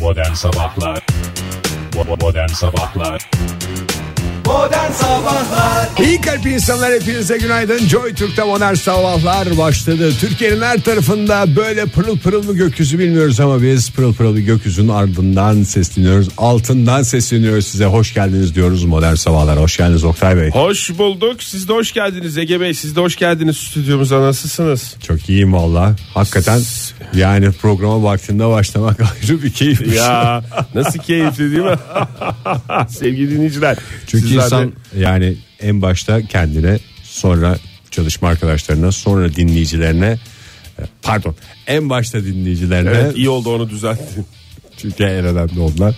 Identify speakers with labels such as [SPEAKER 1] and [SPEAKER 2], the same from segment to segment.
[SPEAKER 1] Modern Sabahlar Bo- Modern Sabahlar
[SPEAKER 2] İyi kalp insanlar hepinize günaydın. Joy Türk'te modern sabahlar başladı. Türkiye'nin her tarafında böyle pırıl pırıl mı gökyüzü bilmiyoruz ama biz pırıl pırıl bir gökyüzünün ardından sesleniyoruz. Altından sesleniyoruz size. Hoş geldiniz diyoruz modern sabahlar. Hoş geldiniz Oktay Bey.
[SPEAKER 3] Hoş bulduk. Siz de hoş geldiniz Ege Bey. Siz de hoş geldiniz stüdyomuza. Nasılsınız?
[SPEAKER 2] Çok iyiyim valla. Hakikaten yani programa vaktinde başlamak ayrı bir keyif.
[SPEAKER 3] Ya nasıl keyifli değil mi? Sevgili dinleyiciler.
[SPEAKER 2] Çünkü
[SPEAKER 3] sizler de-
[SPEAKER 2] insan yani en başta kendine sonra çalışma arkadaşlarına sonra dinleyicilerine e, pardon en başta dinleyicilerine
[SPEAKER 3] Evet, iyi oldu onu düzelttin.
[SPEAKER 2] Çünkü en önemli onlar.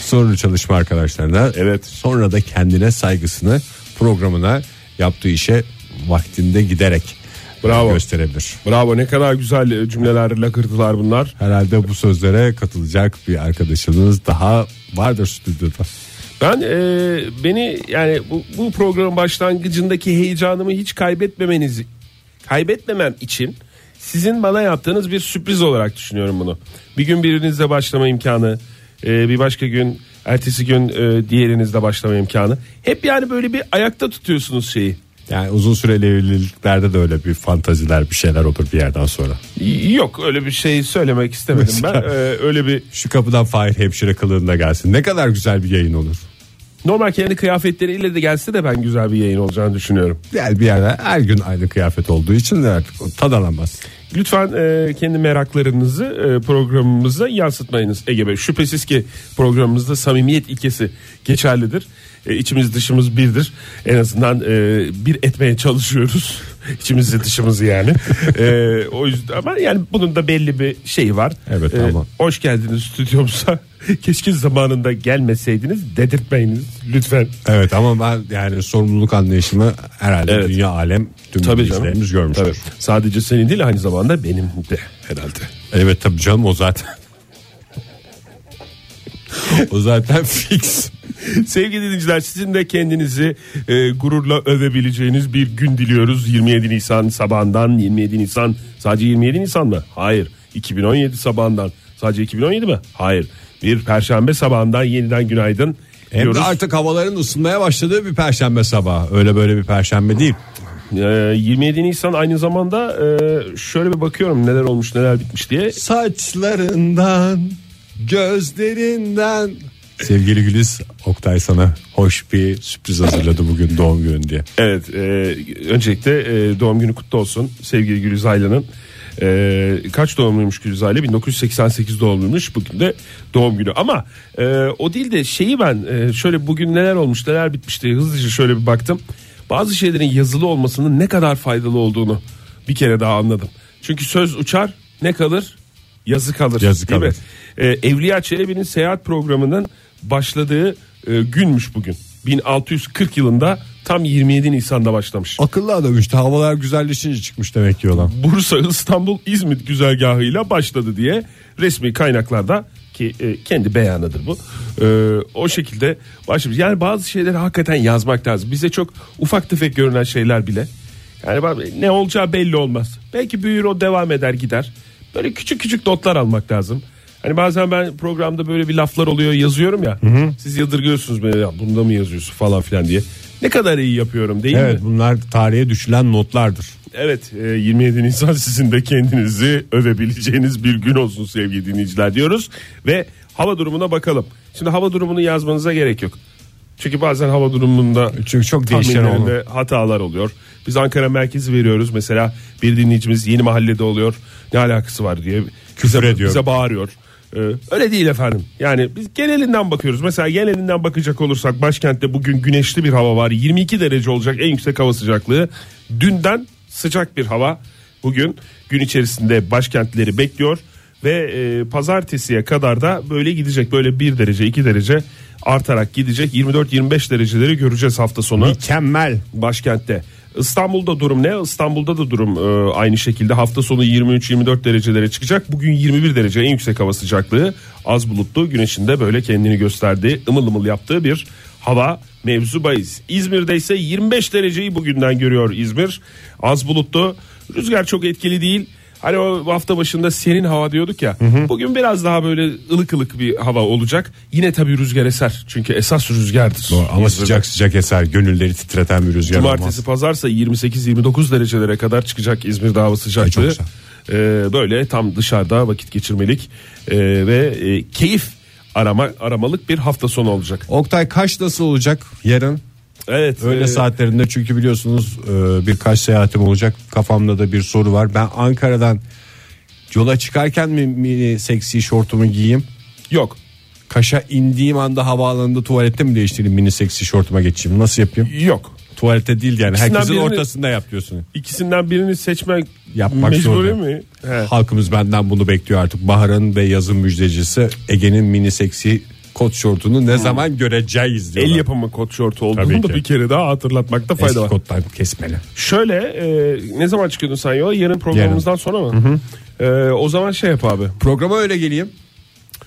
[SPEAKER 2] Sonra çalışma arkadaşlarına.
[SPEAKER 3] Evet.
[SPEAKER 2] Sonra da kendine saygısını programına yaptığı işe vaktinde giderek e,
[SPEAKER 3] Bravo.
[SPEAKER 2] gösterebilir.
[SPEAKER 3] Bravo ne kadar güzel cümleler lakırdılar bunlar.
[SPEAKER 2] Herhalde bu sözlere katılacak bir arkadaşınız daha vardır stüdyoda.
[SPEAKER 3] Ben e, beni yani bu, bu programın başlangıcındaki heyecanımı hiç kaybetmemeniz kaybetmemem için sizin bana yaptığınız bir sürpriz olarak düşünüyorum bunu. Bir gün birinizle başlama imkanı, e, bir başka gün ertesi gün e, diğerinizle başlama imkanı. Hep yani böyle bir ayakta tutuyorsunuz şeyi.
[SPEAKER 2] Yani uzun süreli evliliklerde de öyle bir fantaziler bir şeyler olur bir yerden sonra.
[SPEAKER 3] Y- Yok öyle bir şey söylemek istemedim ben.
[SPEAKER 2] Mesela-
[SPEAKER 3] E, öyle bir
[SPEAKER 2] Şu kapıdan Fahir hemşire kılığında gelsin. Ne kadar güzel bir yayın olur.
[SPEAKER 3] normal kendi kıyafetleriyle de gelse de ben güzel bir yayın olacağını düşünüyorum.
[SPEAKER 2] Yani bir yerde her gün aynı kıyafet olduğu için de artık o tad alamaz.
[SPEAKER 3] Lütfen e, kendi meraklarınızı e, programımıza yansıtmayınız Ege Bey. Şüphesiz ki programımızda samimiyet ilkesi geçerlidir. E, içimiz dışımız birdir. En azından e, bir etmeye çalışıyoruz. İçimizi dışımızı yani. E, o yüzden ama yani bunun da belli bir şeyi var. E,
[SPEAKER 2] Evet, tamam.
[SPEAKER 3] Hoş geldiniz stüdyomuza. Keşke zamanında gelmeseydiniz. Dedirtmeyiniz lütfen.
[SPEAKER 2] Evet ama ben yani sorumluluk anlayışımı herhalde
[SPEAKER 3] Evet.
[SPEAKER 2] dünya alem tüm
[SPEAKER 3] Tabii
[SPEAKER 2] izleyicilerimiz
[SPEAKER 3] canım.
[SPEAKER 2] görmüştür.
[SPEAKER 3] Tabii. Sadece senin değil aynı zamanda benim de herhalde.
[SPEAKER 2] Evet tabii canım o zaten. o zaten fix.
[SPEAKER 3] Sevgili dinleyiciler sizin de kendinizi e, gururla övebileceğiniz bir gün diliyoruz. 27 Nisan sabahından 27 Nisan sadece 27 Nisan mı? Hayır. 2017 sabahından sadece 2017 mi? Hayır. Bir perşembe sabahından yeniden günaydın
[SPEAKER 2] Hem de
[SPEAKER 3] diyoruz.
[SPEAKER 2] artık havaların ısınmaya başladığı bir perşembe sabahı. Öyle böyle bir perşembe değil.
[SPEAKER 3] E, 27 Nisan aynı zamanda e, şöyle bir bakıyorum neler olmuş neler bitmiş diye.
[SPEAKER 2] Saçlarından, gözlerinden. Sevgili Güliz, Oktay sana hoş bir sürpriz hazırladı bugün doğum günün diye.
[SPEAKER 3] Evet, e, öncelikle e, doğum günü kutlu olsun sevgili Gülüzaylı'nın. E, kaç doğumluymuş Gülüzaylı? 1988 doğumluymuş. Bugün de doğum günü. Ama e, o değil de şeyi ben e, şöyle bugün neler olmuş, neler bitmiş diye hızlıca şöyle bir baktım. Bazı şeylerin yazılı olmasının ne kadar faydalı olduğunu bir kere daha anladım. Çünkü söz uçar, ne kalır? Yazı kalır.
[SPEAKER 2] Yazı
[SPEAKER 3] değil mi?
[SPEAKER 2] kalır.
[SPEAKER 3] E, Evliya Çelebi'nin seyahat programının başladığı e, günmüş bugün. 1640 yılında tam 27 Nisan'da başlamış.
[SPEAKER 2] Akıllı adam işte havalar güzelleşince çıkmış demek ki olan.
[SPEAKER 3] Bursa, İstanbul, İzmit güzergahıyla başladı diye resmi kaynaklarda ki e, kendi beyanıdır bu. e, o şekilde başlamış. Yani bazı şeyleri hakikaten yazmak lazım. Bize çok ufak tefek görünen şeyler bile. Yani bak- ne olacağı belli olmaz. Belki büyür o devam eder gider. Böyle küçük küçük notlar almak lazım. Hani bazen ben programda böyle bir laflar oluyor yazıyorum ya. Siz yadırgıyorsunuz beni ya bunda mı yazıyorsun falan filan diye. Ne kadar iyi yapıyorum değil mi?
[SPEAKER 2] Evet bunlar tarihe düşülen notlardır.
[SPEAKER 3] Evet e, 27 Nisan sizin de kendinizi övebileceğiniz bir gün olsun sevgili dinleyiciler diyoruz. Ve hava durumuna bakalım. Şimdi hava durumunu yazmanıza gerek yok. Çünkü bazen hava durumunda
[SPEAKER 2] Çünkü çok değişken
[SPEAKER 3] tahminlerinde hatalar oluyor. Biz Ankara merkezi veriyoruz. Mesela bir dinleyicimiz yeni mahallede oluyor. Ne alakası var diye
[SPEAKER 2] Küfür
[SPEAKER 3] bize,
[SPEAKER 2] ediyor.
[SPEAKER 3] bize bağırıyor. E, öyle değil efendim. Yani biz genelinden bakıyoruz. Mesela genelinden bakacak olursak başkentte bugün güneşli bir hava var. 22 derece olacak en yüksek hava sıcaklığı. Dünden sıcak bir hava bugün gün içerisinde başkentleri bekliyor ve e, pazartesiye kadar da böyle gidecek. Böyle 1 derece 2 derece artarak gidecek. 24-25 dereceleri göreceğiz hafta sonu
[SPEAKER 2] Mükemmel.
[SPEAKER 3] başkentte. İstanbul'da durum ne? İstanbul'da da durum e, aynı şekilde hafta sonu 23-24 derecelere çıkacak. Bugün 21 derece en yüksek hava sıcaklığı. Az bulutlu güneşin de böyle kendini gösterdiği ımıl ımıl yaptığı bir hava mevzubayız. İzmir'de ise 25 dereceyi bugünden görüyor İzmir. Az bulutlu. Rüzgar çok etkili değil Hani o hafta başında serin hava diyorduk ya. Bugün biraz daha böyle ılık ılık bir hava olacak. Yine tabii rüzgar eser. Çünkü esas rüzgardır.
[SPEAKER 2] Doğru, ama sıcak sıcak eser gönülleri titreten bir rüzgar
[SPEAKER 3] Cumartesi
[SPEAKER 2] olmaz.
[SPEAKER 3] pazarsa 28-29 derecelere kadar çıkacak İzmir'de hava
[SPEAKER 2] çok
[SPEAKER 3] sıcaklığı.
[SPEAKER 2] güzel.
[SPEAKER 3] Ee, böyle tam dışarıda vakit geçirmelik ee, ve e, keyif arama aramalık bir hafta sonu olacak.
[SPEAKER 2] Oktay kaç nasıl olacak yarın? Ee,
[SPEAKER 3] Evet.
[SPEAKER 2] Öğle
[SPEAKER 3] e,
[SPEAKER 2] saatlerinde çünkü biliyorsunuz e, birkaç seyahatim olacak. Kafamda da bir soru var. Ben Ankara'dan yola çıkarken mi mini seksi şortumu giyeyim?
[SPEAKER 3] Yok.
[SPEAKER 2] Kaş'a indiğim anda havaalanında tuvalette mi değiştireyim mini seksi şortuma geçeyim? Nasıl yapayım?
[SPEAKER 3] Yok.
[SPEAKER 2] Tuvalette değil yani
[SPEAKER 3] İkisinden
[SPEAKER 2] herkesin
[SPEAKER 3] birini-
[SPEAKER 2] ortasında yap diyorsun.
[SPEAKER 3] İkisinden birini seçmen
[SPEAKER 2] Yapmak
[SPEAKER 3] mecburi
[SPEAKER 2] zorunda.
[SPEAKER 3] mi? He.
[SPEAKER 2] Halkımız benden bunu bekliyor artık. Bahar'ın ve yazın müjdecisi Ege'nin mini seksi kot şortunu ne zaman göreceğiz diyorlar.
[SPEAKER 3] Hmm. El yapımı kot şortu
[SPEAKER 2] Tabii
[SPEAKER 3] olduğunu
[SPEAKER 2] ki.
[SPEAKER 3] da bir kere daha hatırlatmakta fayda
[SPEAKER 2] Eski
[SPEAKER 3] var.
[SPEAKER 2] kottan kesmeli.
[SPEAKER 3] Şöyle e, ne zaman çıkıyordun sen yola? Yarın programımızdan sonra mı? E, o zaman şey yap abi.
[SPEAKER 2] Programa öyle geleyim.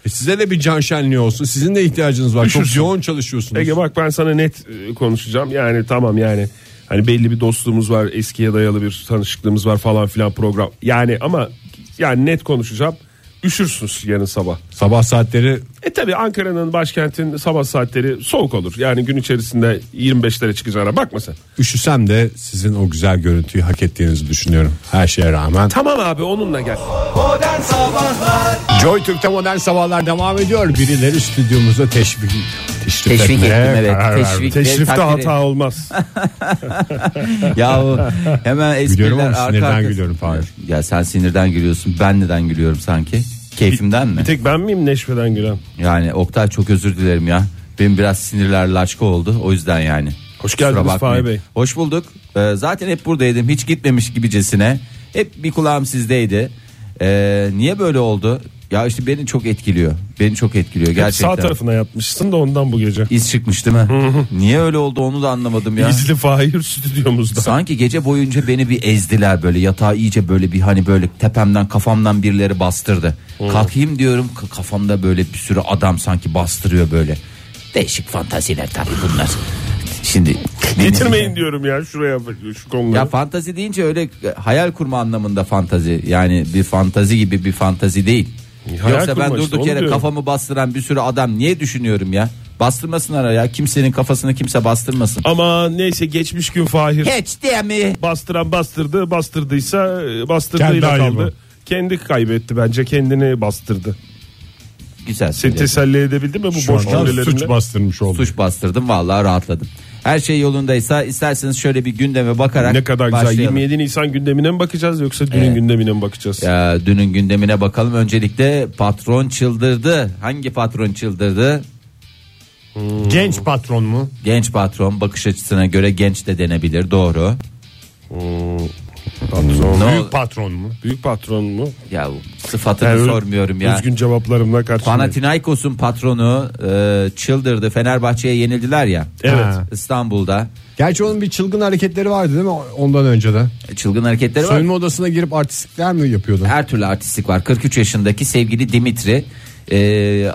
[SPEAKER 2] E size de bir can şenliği olsun. Sizin de ihtiyacınız var. Çok
[SPEAKER 3] Üşürsün.
[SPEAKER 2] yoğun çalışıyorsunuz.
[SPEAKER 3] Ege bak ben sana net e, konuşacağım. Yani tamam yani hani belli bir dostluğumuz var, eskiye dayalı bir tanışıklığımız var falan filan program. Yani ama yani net konuşacağım. Üşürsünüz yarın sabah.
[SPEAKER 2] Sabah saatleri
[SPEAKER 3] E tabi Ankara'nın başkentin sabah saatleri soğuk olur. Yani gün içerisinde 25'lere çıkacağına bakma sen.
[SPEAKER 2] üşüsem de sizin o güzel görüntüyü hak ettiğinizi düşünüyorum. Her şeye rağmen.
[SPEAKER 3] Tamam abi onunla gel.
[SPEAKER 4] Modern Sabahlar
[SPEAKER 2] Joy Türk'te modern sabahlar devam ediyor. Birileri stüdyomuza teşvik teşrif
[SPEAKER 5] Teşvik
[SPEAKER 2] etmeye
[SPEAKER 5] ettim, evet.
[SPEAKER 2] karar
[SPEAKER 5] Teşvik.
[SPEAKER 2] verdi.
[SPEAKER 3] Teşrifte
[SPEAKER 5] takdiri-
[SPEAKER 3] hata olmaz.
[SPEAKER 5] Yahu hemen espriler
[SPEAKER 2] Gülüyorum ama
[SPEAKER 5] arka
[SPEAKER 2] sinirden
[SPEAKER 5] arkası-
[SPEAKER 2] gülüyorum Fahir.
[SPEAKER 5] Ya sen sinirden gülüyorsun. Ben neden gülüyorum sanki? Keyfimden mi?
[SPEAKER 3] Bir tek ben miyim neşveden gülen?
[SPEAKER 5] Yani Oktay çok özür dilerim ya. Benim biraz sinirler laçka oldu. O yüzden yani.
[SPEAKER 3] Hoş
[SPEAKER 5] Kusura
[SPEAKER 3] geldiniz
[SPEAKER 5] bakmayın.
[SPEAKER 3] Fahir Bey.
[SPEAKER 5] Hoş bulduk. Ee, zaten hep buradaydım. Hiç gitmemiş gibicesine. Hep bir kulağım sizdeydi. Ee, niye böyle oldu? Ya işte beni çok etkiliyor. Beni çok etkiliyor gerçekten.
[SPEAKER 3] Sağ tarafına yatmışsın da ondan bu gece.
[SPEAKER 5] İz çıkmış değil mi? niye öyle oldu onu da anlamadım ya.
[SPEAKER 3] İzli Fahir stüdyomuzda.
[SPEAKER 5] Sanki gece boyunca beni bir ezdiler böyle yatağa iyice böyle bir hani böyle tepemden kafamdan birileri bastırdı.
[SPEAKER 3] Hmm.
[SPEAKER 5] Kalkayım diyorum k- kafamda böyle bir sürü adam sanki bastırıyor böyle. Değişik fantaziler tabii bunlar. Şimdi
[SPEAKER 3] Getirmeyin diyorum ya şuraya şu konuları.
[SPEAKER 5] Ya fantazi deyince öyle e, hayal kurma anlamında fantazi. Yani bir fantazi gibi bir fantazi değil.
[SPEAKER 3] E, Hayal
[SPEAKER 5] Yoksa ben
[SPEAKER 3] kurma işte,
[SPEAKER 5] durduk
[SPEAKER 3] onu
[SPEAKER 5] yere
[SPEAKER 3] diyorum.
[SPEAKER 5] kafamı bastıran bir sürü adam niye düşünüyorum ya? Bastırmasınlar ya. Kimsenin kafasını kimse bastırmasın.
[SPEAKER 3] Ama neyse geçmiş gün Fahir
[SPEAKER 5] Hiç diye mi?
[SPEAKER 3] bastıran bastırdı bastırdıysa e,
[SPEAKER 2] Kendi
[SPEAKER 3] bastırdığıyla
[SPEAKER 2] ayıbı.
[SPEAKER 3] kaldı. Kendi kaybetti bence kendini bastırdı.
[SPEAKER 5] Güzel.
[SPEAKER 3] Seni
[SPEAKER 5] söylüyorsun.
[SPEAKER 3] teselli edebildi mi bu
[SPEAKER 2] Şu
[SPEAKER 3] boş
[SPEAKER 2] anda
[SPEAKER 3] cümlelerinle?
[SPEAKER 2] suç bastırmış oldu.
[SPEAKER 5] Suç bastırdım vallahi rahatladım. Her şey yolundaysa isterseniz şöyle bir gündeme bakarak
[SPEAKER 3] Ne kadar güzel
[SPEAKER 5] başlayalım.
[SPEAKER 3] 27 Nisan gündemine mi bakacağız yoksa dünün
[SPEAKER 5] Evet.
[SPEAKER 3] gündemine mi bakacağız?
[SPEAKER 5] Ya, dünün gündemine bakalım. Öncelikle patron çıldırdı. Hangi patron çıldırdı?
[SPEAKER 2] Genç patron mu?
[SPEAKER 5] Genç patron bakış açısına göre genç de denebilir. Doğru.
[SPEAKER 3] Patron.
[SPEAKER 5] Ne ol-
[SPEAKER 2] Büyük patron mu?
[SPEAKER 3] Büyük patron mu?
[SPEAKER 5] ya sıfatını
[SPEAKER 3] Yani
[SPEAKER 5] sormuyorum ya.
[SPEAKER 3] Üzgün cevaplarımla karşılayayım.
[SPEAKER 5] Panathinaikos'un patronu e, çıldırdı. Fenerbahçe'ye yenildiler ya.
[SPEAKER 3] Evet.
[SPEAKER 2] Ha.
[SPEAKER 5] İstanbul'da.
[SPEAKER 2] Gerçi onun bir çılgın hareketleri vardı değil mi ondan önce de?
[SPEAKER 5] E, Çılgın hareketleri var.
[SPEAKER 2] Soyunma odasına girip artistlikler mi yapıyordu?
[SPEAKER 5] Her türlü artistlik var. 43 yaşındaki sevgili Dimitri e,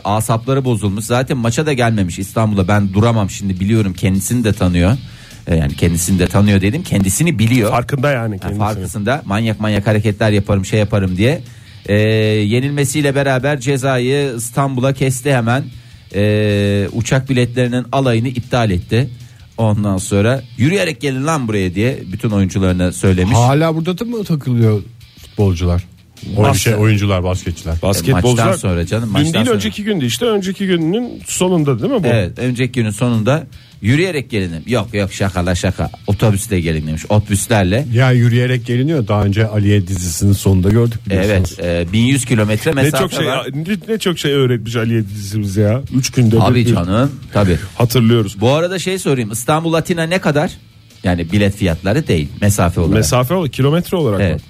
[SPEAKER 5] asapları bozulmuş. Zaten maça da gelmemiş İstanbul'a. Ben duramam şimdi biliyorum kendisini de tanıyor. E, yani kendisini de tanıyor dedim. Kendisini biliyor.
[SPEAKER 3] Farkında yani
[SPEAKER 5] Yani
[SPEAKER 3] kendisinin.
[SPEAKER 5] farkısında manyak manyak hareketler yaparım şey yaparım diye. E, yenilmesiyle beraber cezayı İstanbul'a kesti hemen. E, uçak biletlerinin alayını iptal etti. Ondan sonra yürüyerek gelin lan buraya diye bütün oyuncularına söylemiş.
[SPEAKER 2] Hala burada da mı takılıyor futbolcular? şey. Oyun
[SPEAKER 5] Basket.
[SPEAKER 2] şey, oyuncular, basketçiler.
[SPEAKER 3] Basketbolcular.
[SPEAKER 5] E, Maçtan sonra canım,
[SPEAKER 3] Dün
[SPEAKER 5] maçtan
[SPEAKER 3] değil
[SPEAKER 5] sonra.
[SPEAKER 3] önceki gündü işte önceki gününün sonunda değil mi bu?
[SPEAKER 5] Evet önceki günün sonunda yürüyerek gelinim. Yok yok şaka la şaka otobüsle gelin demiş otobüslerle.
[SPEAKER 2] Ya yürüyerek geliniyor. Daha önce Aliye dizisinin sonunda gördük biliyorsunuz.
[SPEAKER 5] Evet e, 1100 kilometre
[SPEAKER 3] Ne
[SPEAKER 5] mesafe
[SPEAKER 3] çok şey
[SPEAKER 5] var.
[SPEAKER 3] ne, ne çok şey öğretmiş Aliye dizimiz ya. 3 günde
[SPEAKER 5] Abi
[SPEAKER 3] bir- bir
[SPEAKER 5] canım tabi.
[SPEAKER 3] hatırlıyoruz.
[SPEAKER 5] Bu arada şey sorayım İstanbul Atina ne kadar? Yani bilet fiyatları değil mesafe olarak.
[SPEAKER 3] Mesafe olarak kilometre olarak mı?
[SPEAKER 5] Evet.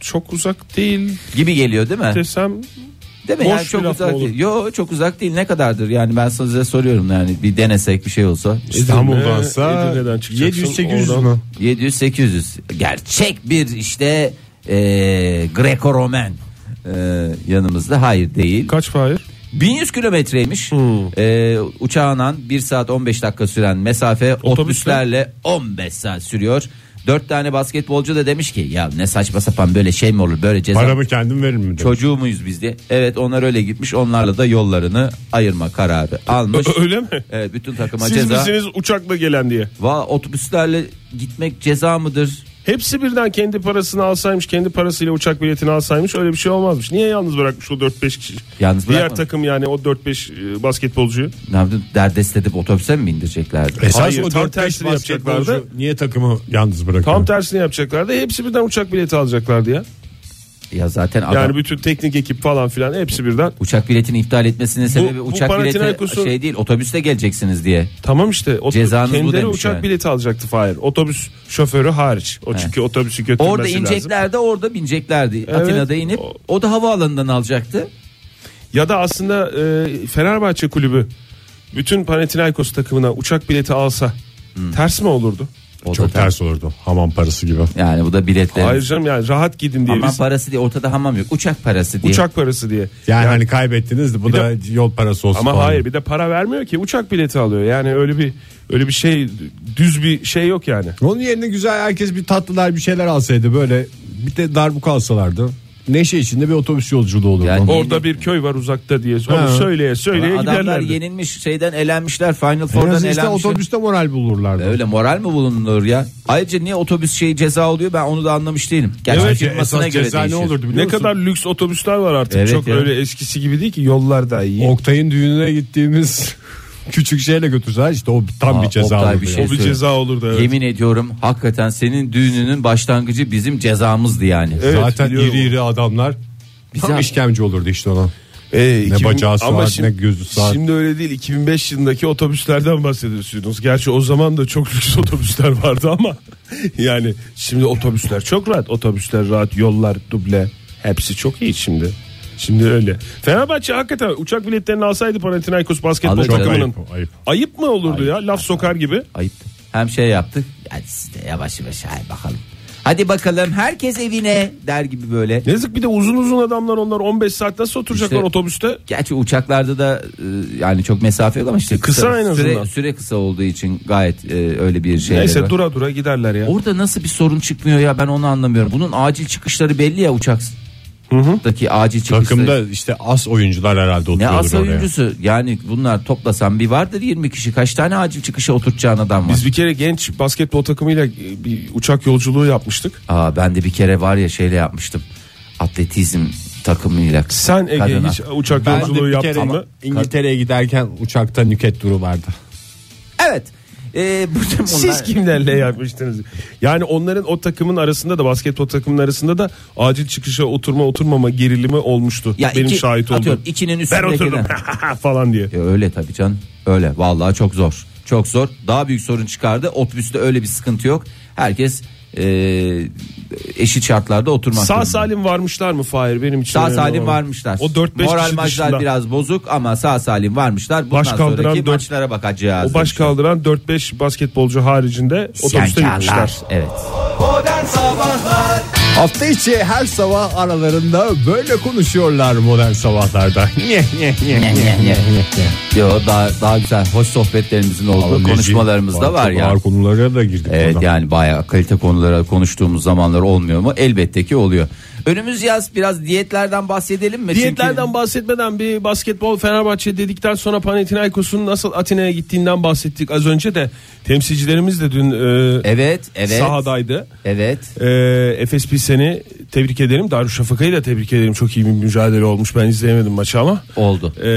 [SPEAKER 3] çok uzak değil
[SPEAKER 5] Gibi geliyor değil mi?
[SPEAKER 3] desem
[SPEAKER 5] Değil mi?
[SPEAKER 3] boş
[SPEAKER 5] Yani
[SPEAKER 3] bir
[SPEAKER 5] çok
[SPEAKER 3] laf mı
[SPEAKER 5] uzak
[SPEAKER 3] olur?
[SPEAKER 5] değil. Yo çok uzak değil. Ne kadardır? Yani ben size soruyorum yani bir denesek bir şey olsa.
[SPEAKER 3] Edirne-
[SPEAKER 2] İstanbul'dansa
[SPEAKER 3] Edirne'den çıkacaksın,
[SPEAKER 2] 700-800
[SPEAKER 3] oradan.
[SPEAKER 2] mü?
[SPEAKER 5] 700 800. Gerçek bir işte e, Greco-Romen e, yanımızda. Hayır değil.
[SPEAKER 3] kaç fahir?
[SPEAKER 5] 1100 kilometreymiş.
[SPEAKER 3] Hmm.
[SPEAKER 5] Ee, uçağından 1 saat 15 dakika süren mesafe otobüslerle 15 saat sürüyor. Dört tane basketbolcu da demiş ki ya ne saçma sapan böyle şey mi olur böyle ceza
[SPEAKER 2] Paramı kendim veririm mi? demiş.
[SPEAKER 5] çocuğu muyuz biz diye. Evet onlar öyle gitmiş onlarla da yollarını ayırma kararı almış.
[SPEAKER 3] Ö- öyle mi?
[SPEAKER 5] Evet, bütün takıma
[SPEAKER 3] Siz
[SPEAKER 5] ceza.
[SPEAKER 3] misiniz uçakla gelen diye.
[SPEAKER 5] Va otobüslerle gitmek ceza mıdır?
[SPEAKER 3] Hepsi birden kendi parasını alsaymış, kendi parasıyla uçak biletini alsaymış öyle bir şey olmazmış. Niye yalnız bırakmış o 4-5 kişi?
[SPEAKER 5] Yalnız
[SPEAKER 3] Diğer
[SPEAKER 5] bırakmamış.
[SPEAKER 3] takım yani o 4-5 e, basketbolcuyu.
[SPEAKER 5] Ne yaptın? Derdest edip otobüse mi bindireceklerdi?
[SPEAKER 2] Esas
[SPEAKER 3] Hayır,
[SPEAKER 2] o
[SPEAKER 3] tam
[SPEAKER 2] 4-5
[SPEAKER 3] tersini yapacaklardı.
[SPEAKER 2] basketbolcu Niye takımı yalnız bırakıyor?
[SPEAKER 3] Tam tersini yapacaklardı. Hepsi birden uçak bileti alacaklardı ya.
[SPEAKER 5] Ya zaten adam
[SPEAKER 3] E, Yani bütün teknik ekip falan filan hepsi birden.
[SPEAKER 5] uçak biletini iptal etmesinin sebebi
[SPEAKER 3] bu
[SPEAKER 5] uçak bileti
[SPEAKER 3] Panathinaikos'un-
[SPEAKER 5] şey değil otobüsle geleceksiniz diye.
[SPEAKER 3] Tamam işte. O
[SPEAKER 5] Cezanız bu
[SPEAKER 3] kendileri
[SPEAKER 5] demiş
[SPEAKER 3] uçak
[SPEAKER 5] yani.
[SPEAKER 3] bileti alacaktı Fahir. Otobüs şoförü hariç. O çünkü otobüsü götürmesi
[SPEAKER 5] Orada
[SPEAKER 3] lazım.
[SPEAKER 5] ineceklerdi orada bineceklerdi. Atina'da inip
[SPEAKER 3] O-
[SPEAKER 5] o da havaalanından alacaktı.
[SPEAKER 3] Ya da aslında e, Fenerbahçe kulübü bütün Panathinaikos takımına uçak bileti alsa
[SPEAKER 5] Hmm.
[SPEAKER 3] ters mi olurdu?
[SPEAKER 5] O da
[SPEAKER 2] Çok
[SPEAKER 5] tam-
[SPEAKER 2] ters olurdu. Hamam parası gibi.
[SPEAKER 5] Yani bu da biletler.
[SPEAKER 3] Hayır canım yani rahat gidin diye
[SPEAKER 5] Hamam
[SPEAKER 3] biz
[SPEAKER 5] parası diye ortada hamam yok. Uçak parası diye.
[SPEAKER 3] uçak parası diye.
[SPEAKER 2] Yani hani kaybettiniz de bu da yol parası olsun.
[SPEAKER 3] Ama
[SPEAKER 2] falan.
[SPEAKER 3] hayır bir de para vermiyor ki uçak bileti alıyor. Yani öyle bir öyle bir şey düz bir şey yok yani.
[SPEAKER 2] Onun yerine güzel herkes bir tatlılar bir şeyler alsaydı böyle bir de darbuka alsalardı. Neşe içinde bir otobüs yolculuğu olurdu.
[SPEAKER 5] Yani-
[SPEAKER 3] Orada bir köy var uzakta diye. Onu
[SPEAKER 2] Ha.
[SPEAKER 3] söyleye söyleye
[SPEAKER 5] Adamlar
[SPEAKER 3] giderlerdi.
[SPEAKER 5] yenilmiş şeyden elenmişler Final
[SPEAKER 2] en
[SPEAKER 5] Four'dan
[SPEAKER 2] azından işte
[SPEAKER 5] elenmişler.
[SPEAKER 2] otobüste moral bulurlardı.
[SPEAKER 5] Öyle moral mi bulunur ya? Ayrıca niye otobüs şeyi ceza oluyor ben onu da anlamış değilim. Gerçi
[SPEAKER 2] Bence
[SPEAKER 5] firmasına
[SPEAKER 2] esas
[SPEAKER 5] göre
[SPEAKER 2] ceza
[SPEAKER 5] değişir.
[SPEAKER 2] ne olurdu biliyor
[SPEAKER 3] Ne
[SPEAKER 2] musun?
[SPEAKER 3] kadar lüks otobüsler var artık.
[SPEAKER 5] Evet
[SPEAKER 3] Çok
[SPEAKER 5] ya.
[SPEAKER 3] öyle eskisi gibi değil ki yollarda iyi.
[SPEAKER 2] Oktay'ın düğününe gittiğimiz küçük şeyle götürseler işte o tam
[SPEAKER 5] Aa,
[SPEAKER 2] bir ceza
[SPEAKER 5] Oktay
[SPEAKER 2] olurdu.
[SPEAKER 5] bir
[SPEAKER 2] ya.
[SPEAKER 5] şey-
[SPEAKER 3] o bir ceza olurdu evet.
[SPEAKER 5] Yemin ediyorum hakikaten senin düğününün başlangıcı bizim cezamızdı yani.
[SPEAKER 3] Evet,
[SPEAKER 2] Zaten
[SPEAKER 3] biliyorum.
[SPEAKER 2] iri iri adamlar tam
[SPEAKER 5] Bize-
[SPEAKER 2] işkemce olurdu işte ona.
[SPEAKER 3] Ee,
[SPEAKER 2] Ne bacağı saat, ne gözü saat.
[SPEAKER 3] Şimdi öyle değil 2005 yılındaki otobüslerden bahsediyorsunuz. Gerçi o zaman da çok lüks otobüsler vardı ama yani şimdi otobüsler çok rahat. Otobüsler rahat, yollar duble. Hepsi çok iyi şimdi. Şimdi öyle. Fenerbahçe hakikaten uçak biletlerini alsaydı Panathinaikos basketbol
[SPEAKER 5] Alır
[SPEAKER 2] Çok
[SPEAKER 5] canım.
[SPEAKER 3] takımının.
[SPEAKER 2] ayıp,
[SPEAKER 3] Ayıp,
[SPEAKER 2] ayıp.
[SPEAKER 3] mı olurdu ya? Laf sokar gibi.
[SPEAKER 5] Ayıp. Hem şey yaptık. Yani siz de yavaş yavaş hadi bakalım. Hadi bakalım herkes evine der gibi böyle.
[SPEAKER 3] Yazık bir de uzun uzun adamlar onlar 15 saat nasıl oturacaklar
[SPEAKER 5] İşte-
[SPEAKER 3] otobüste?
[SPEAKER 5] Gerçi uçaklarda da e, yani çok mesafe yok ama işte
[SPEAKER 3] Kısa en azından.
[SPEAKER 5] süre, süre kısa olduğu için gayet e, öyle bir şey.
[SPEAKER 3] Neyse dura dura giderler ya.
[SPEAKER 5] Orada nasıl bir sorun çıkmıyor ya ben onu anlamıyorum. Bunun acil çıkışları belli ya uçaktaki acil çıkışları.
[SPEAKER 2] Takımda işte as oyuncular herhalde
[SPEAKER 5] ne
[SPEAKER 2] oturuyordur
[SPEAKER 5] as
[SPEAKER 2] oraya.
[SPEAKER 5] oyuncusu yani bunlar toplasan bir vardır 20 kişi kaç tane acil çıkışa oturtacağın adam var.
[SPEAKER 3] Biz bir kere genç basketbol takımıyla e, bir uçak yolculuğu yapmıştık.
[SPEAKER 5] Aa, ben de bir kere var ya şeyle yapmıştım atletizm takımıyla.
[SPEAKER 3] Sen Ege
[SPEAKER 5] kadına.
[SPEAKER 3] hiç uçak
[SPEAKER 2] Ben de
[SPEAKER 3] yolculuğu
[SPEAKER 2] bir
[SPEAKER 3] yaptın
[SPEAKER 2] kere
[SPEAKER 3] mı?
[SPEAKER 2] İngiltere'ye giderken uçakta nüket duru vardı.
[SPEAKER 5] Evet. Ee, bütün bunlar...
[SPEAKER 3] Siz kimlerle yapmıştınız? Yani onların o takımın arasında da basketbol takımın arasında da acil çıkışa oturma oturmama gerilimi olmuştu.
[SPEAKER 5] Ya
[SPEAKER 3] Benim
[SPEAKER 5] iki-
[SPEAKER 3] şahit
[SPEAKER 5] atıyorum
[SPEAKER 3] oldum.
[SPEAKER 5] ikinin
[SPEAKER 3] Ben oturdum
[SPEAKER 5] üstündekine.
[SPEAKER 3] falan diye.
[SPEAKER 5] Ya E, öyle tabii can. Öyle vallahi çok zor. Çok zor. Daha büyük sorun çıkardı. Otobüste öyle bir sıkıntı yok. Herkes e, eşit şartlarda oturmak
[SPEAKER 3] Sağ
[SPEAKER 5] durumunda.
[SPEAKER 3] salim varmışlar mı Fahir benim için?
[SPEAKER 5] Sağ
[SPEAKER 3] önemli
[SPEAKER 5] salim
[SPEAKER 3] olan.
[SPEAKER 5] varmışlar.
[SPEAKER 3] O 4-5
[SPEAKER 5] Moral
[SPEAKER 3] kişi
[SPEAKER 5] maçlar
[SPEAKER 3] dışında.
[SPEAKER 5] biraz bozuk ama sağ salim varmışlar. Bundan
[SPEAKER 3] Baş kaldıran
[SPEAKER 5] sonraki
[SPEAKER 3] dört-
[SPEAKER 5] maçlara bakacağız.
[SPEAKER 3] O baş kaldıran 4-5 basketbolcu haricinde otobüste
[SPEAKER 5] Siyahkarlar.
[SPEAKER 3] gitmişler.
[SPEAKER 5] Evet.
[SPEAKER 4] Modern Sabahlar
[SPEAKER 2] Hafta içi her sabah aralarında böyle konuşuyorlar modern sabahlarda.
[SPEAKER 5] Yo, daha, daha güzel hoş sohbetlerimizin olduğu konuşmalarımız da var ya.
[SPEAKER 2] Ağır konulara da girdik.
[SPEAKER 5] Evet
[SPEAKER 2] valla.
[SPEAKER 5] yani bayağı kalite konulara konuştuğumuz zamanlar olmuyor mu? Elbette ki oluyor. Önümüz yaz biraz diyetlerden bahsedelim mi?
[SPEAKER 3] Diyetlerden
[SPEAKER 5] Çünkü
[SPEAKER 3] bahsetmeden bir basketbol Fenerbahçe dedikten sonra Panathinaikos'un nasıl Atina'ya gittiğinden bahsettik az önce de temsilcilerimiz de dün e,
[SPEAKER 5] Evet, evet.
[SPEAKER 3] sahadaydı.
[SPEAKER 5] Evet.
[SPEAKER 3] E, Efes seni tebrik ederim. Darüşşafaka'yı da tebrik ederim. Çok iyi bir mücadele olmuş. Ben izleyemedim maçı ama.
[SPEAKER 5] Oldu.
[SPEAKER 3] E,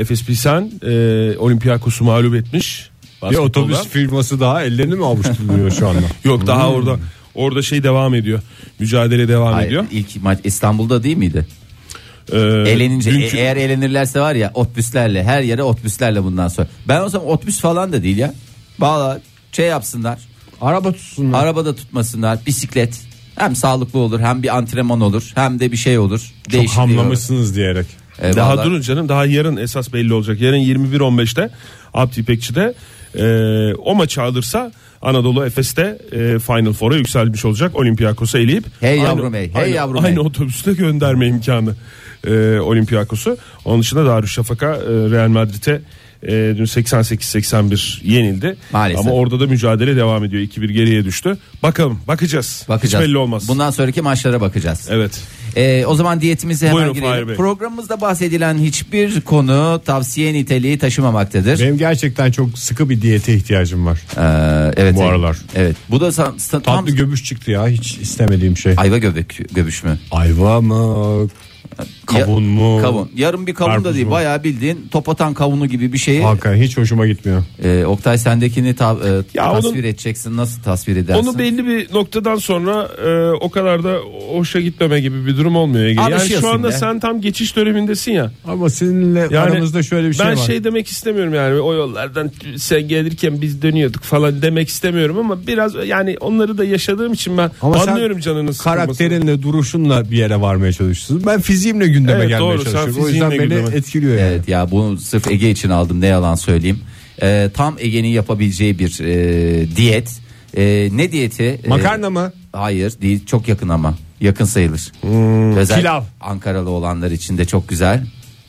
[SPEAKER 3] Efes Pilsen e, Olympiakos'u mağlup etmiş.
[SPEAKER 2] Bir
[SPEAKER 3] Basketbolda.
[SPEAKER 2] otobüs firması daha ellerini mi avuşturuyor şu anda?
[SPEAKER 3] Yok daha orada orada şey devam ediyor. Mücadele devam
[SPEAKER 5] Hmm. Hayır,
[SPEAKER 3] ediyor.
[SPEAKER 5] ilk maç İstanbul'da değil miydi?
[SPEAKER 3] E,
[SPEAKER 5] Eğlenince
[SPEAKER 3] dünkü-
[SPEAKER 5] e- eğer eğlenirlerse var ya otbüslerle her yere otbüslerle bundan sonra. Ben o zaman otbüs falan da değil ya. Valla şey yapsınlar.
[SPEAKER 2] Araba tutsunlar.
[SPEAKER 5] Arabada tutmasınlar. Bisiklet. Hem sağlıklı olur hem bir antrenman olur hem de bir şey olur.
[SPEAKER 2] Çok
[SPEAKER 5] Değişikliği olur.
[SPEAKER 2] hamlamışsınız diyerek.
[SPEAKER 5] E,
[SPEAKER 3] Daha
[SPEAKER 5] vallahi-
[SPEAKER 3] durun canım daha yarın esas belli olacak. Yarın 21.15'te Abdi İpekçi'de e, o maçı alırsa Anadolu Efes'te e, Final Four'a yükselmiş olacak. Olympiakos'u eleyip
[SPEAKER 5] Hey yavrum hey, hey
[SPEAKER 3] aynı,
[SPEAKER 5] yavrum
[SPEAKER 3] aynı
[SPEAKER 5] hey.
[SPEAKER 3] otobüste gönderme imkanı e, Olympiakos'u. Onun dışında Darüşşafaka e, Real Madrid'e e, dün 88-81 yenildi.
[SPEAKER 5] Maalesef.
[SPEAKER 3] Ama orada da mücadele devam ediyor. 2-1 geriye düştü. Bakalım bakacağız.
[SPEAKER 5] Bakacağız.
[SPEAKER 3] Hiç belli olmaz.
[SPEAKER 5] Bundan sonraki maçlara bakacağız.
[SPEAKER 3] Evet.
[SPEAKER 5] Ee, o zaman diyetimize hemen
[SPEAKER 3] Buyurun Fahir
[SPEAKER 5] girelim.
[SPEAKER 3] Bey.
[SPEAKER 5] Programımızda bahsedilen hiçbir konu tavsiye niteliği taşımamaktadır.
[SPEAKER 2] Benim gerçekten çok sıkı bir diyete ihtiyacım var.
[SPEAKER 5] Ee, evet.
[SPEAKER 2] Bu aralar.
[SPEAKER 5] Evet. Bu da san- san- tam
[SPEAKER 2] Tatlı göbüş çıktı ya hiç istemediğim şey.
[SPEAKER 5] ayva göbek göbüş mü?
[SPEAKER 2] Ayva mı? Kavun
[SPEAKER 5] Ya-
[SPEAKER 2] mu?
[SPEAKER 5] Kavun. Yarım bir kavun da
[SPEAKER 2] Karpuz
[SPEAKER 5] değil.
[SPEAKER 2] mu?
[SPEAKER 5] Bayağı bildiğin topatan kavunu gibi bir şeyi.
[SPEAKER 2] Hakan hiç hoşuma gitmiyor.
[SPEAKER 5] Ee, Oktay sendekini ta- e,
[SPEAKER 3] Ya
[SPEAKER 5] tasvir
[SPEAKER 3] onun-
[SPEAKER 5] edeceksin. Nasıl tasvir edersin?
[SPEAKER 3] Onu belli bir noktadan sonra e, o kadar da hoşa gitmeme gibi bir durum olmuyor Ege. Yani
[SPEAKER 5] Alışıyorsun
[SPEAKER 3] şu anda
[SPEAKER 5] ya.
[SPEAKER 3] sen tam geçiş dönemindesin ya.
[SPEAKER 2] Ama seninle
[SPEAKER 3] Yani
[SPEAKER 2] aramızda şöyle bir şey
[SPEAKER 3] ben
[SPEAKER 2] var.
[SPEAKER 3] şey demek istemiyorum yani o yollardan sen gelirken biz dönüyorduk falan demek istemiyorum ama biraz yani onları da yaşadığım için ben
[SPEAKER 2] Ama sen
[SPEAKER 3] anlıyorum canının sıkılmasını.
[SPEAKER 2] Karakterinle duruşunla bir yere varmaya çalışıyorsun. Ben fiziğimle gündeme
[SPEAKER 3] Evet,
[SPEAKER 2] gelmeye
[SPEAKER 3] doğru, sen
[SPEAKER 2] çalışıyorum. O yüzden beni
[SPEAKER 3] fiziğinle gündeme.
[SPEAKER 2] etkiliyor yani.
[SPEAKER 5] Evet ya bunu sırf Ege için aldım ne yalan söyleyeyim. Ee, tam Ege'nin yapabileceği bir e, diyet. E, ne diyeti? E,
[SPEAKER 2] Makarna mı?
[SPEAKER 5] Hayır değil çok yakın ama yakın sayılır. Özel
[SPEAKER 2] Hmm, pilav.
[SPEAKER 5] Ankaralı olanlar için de çok güzel.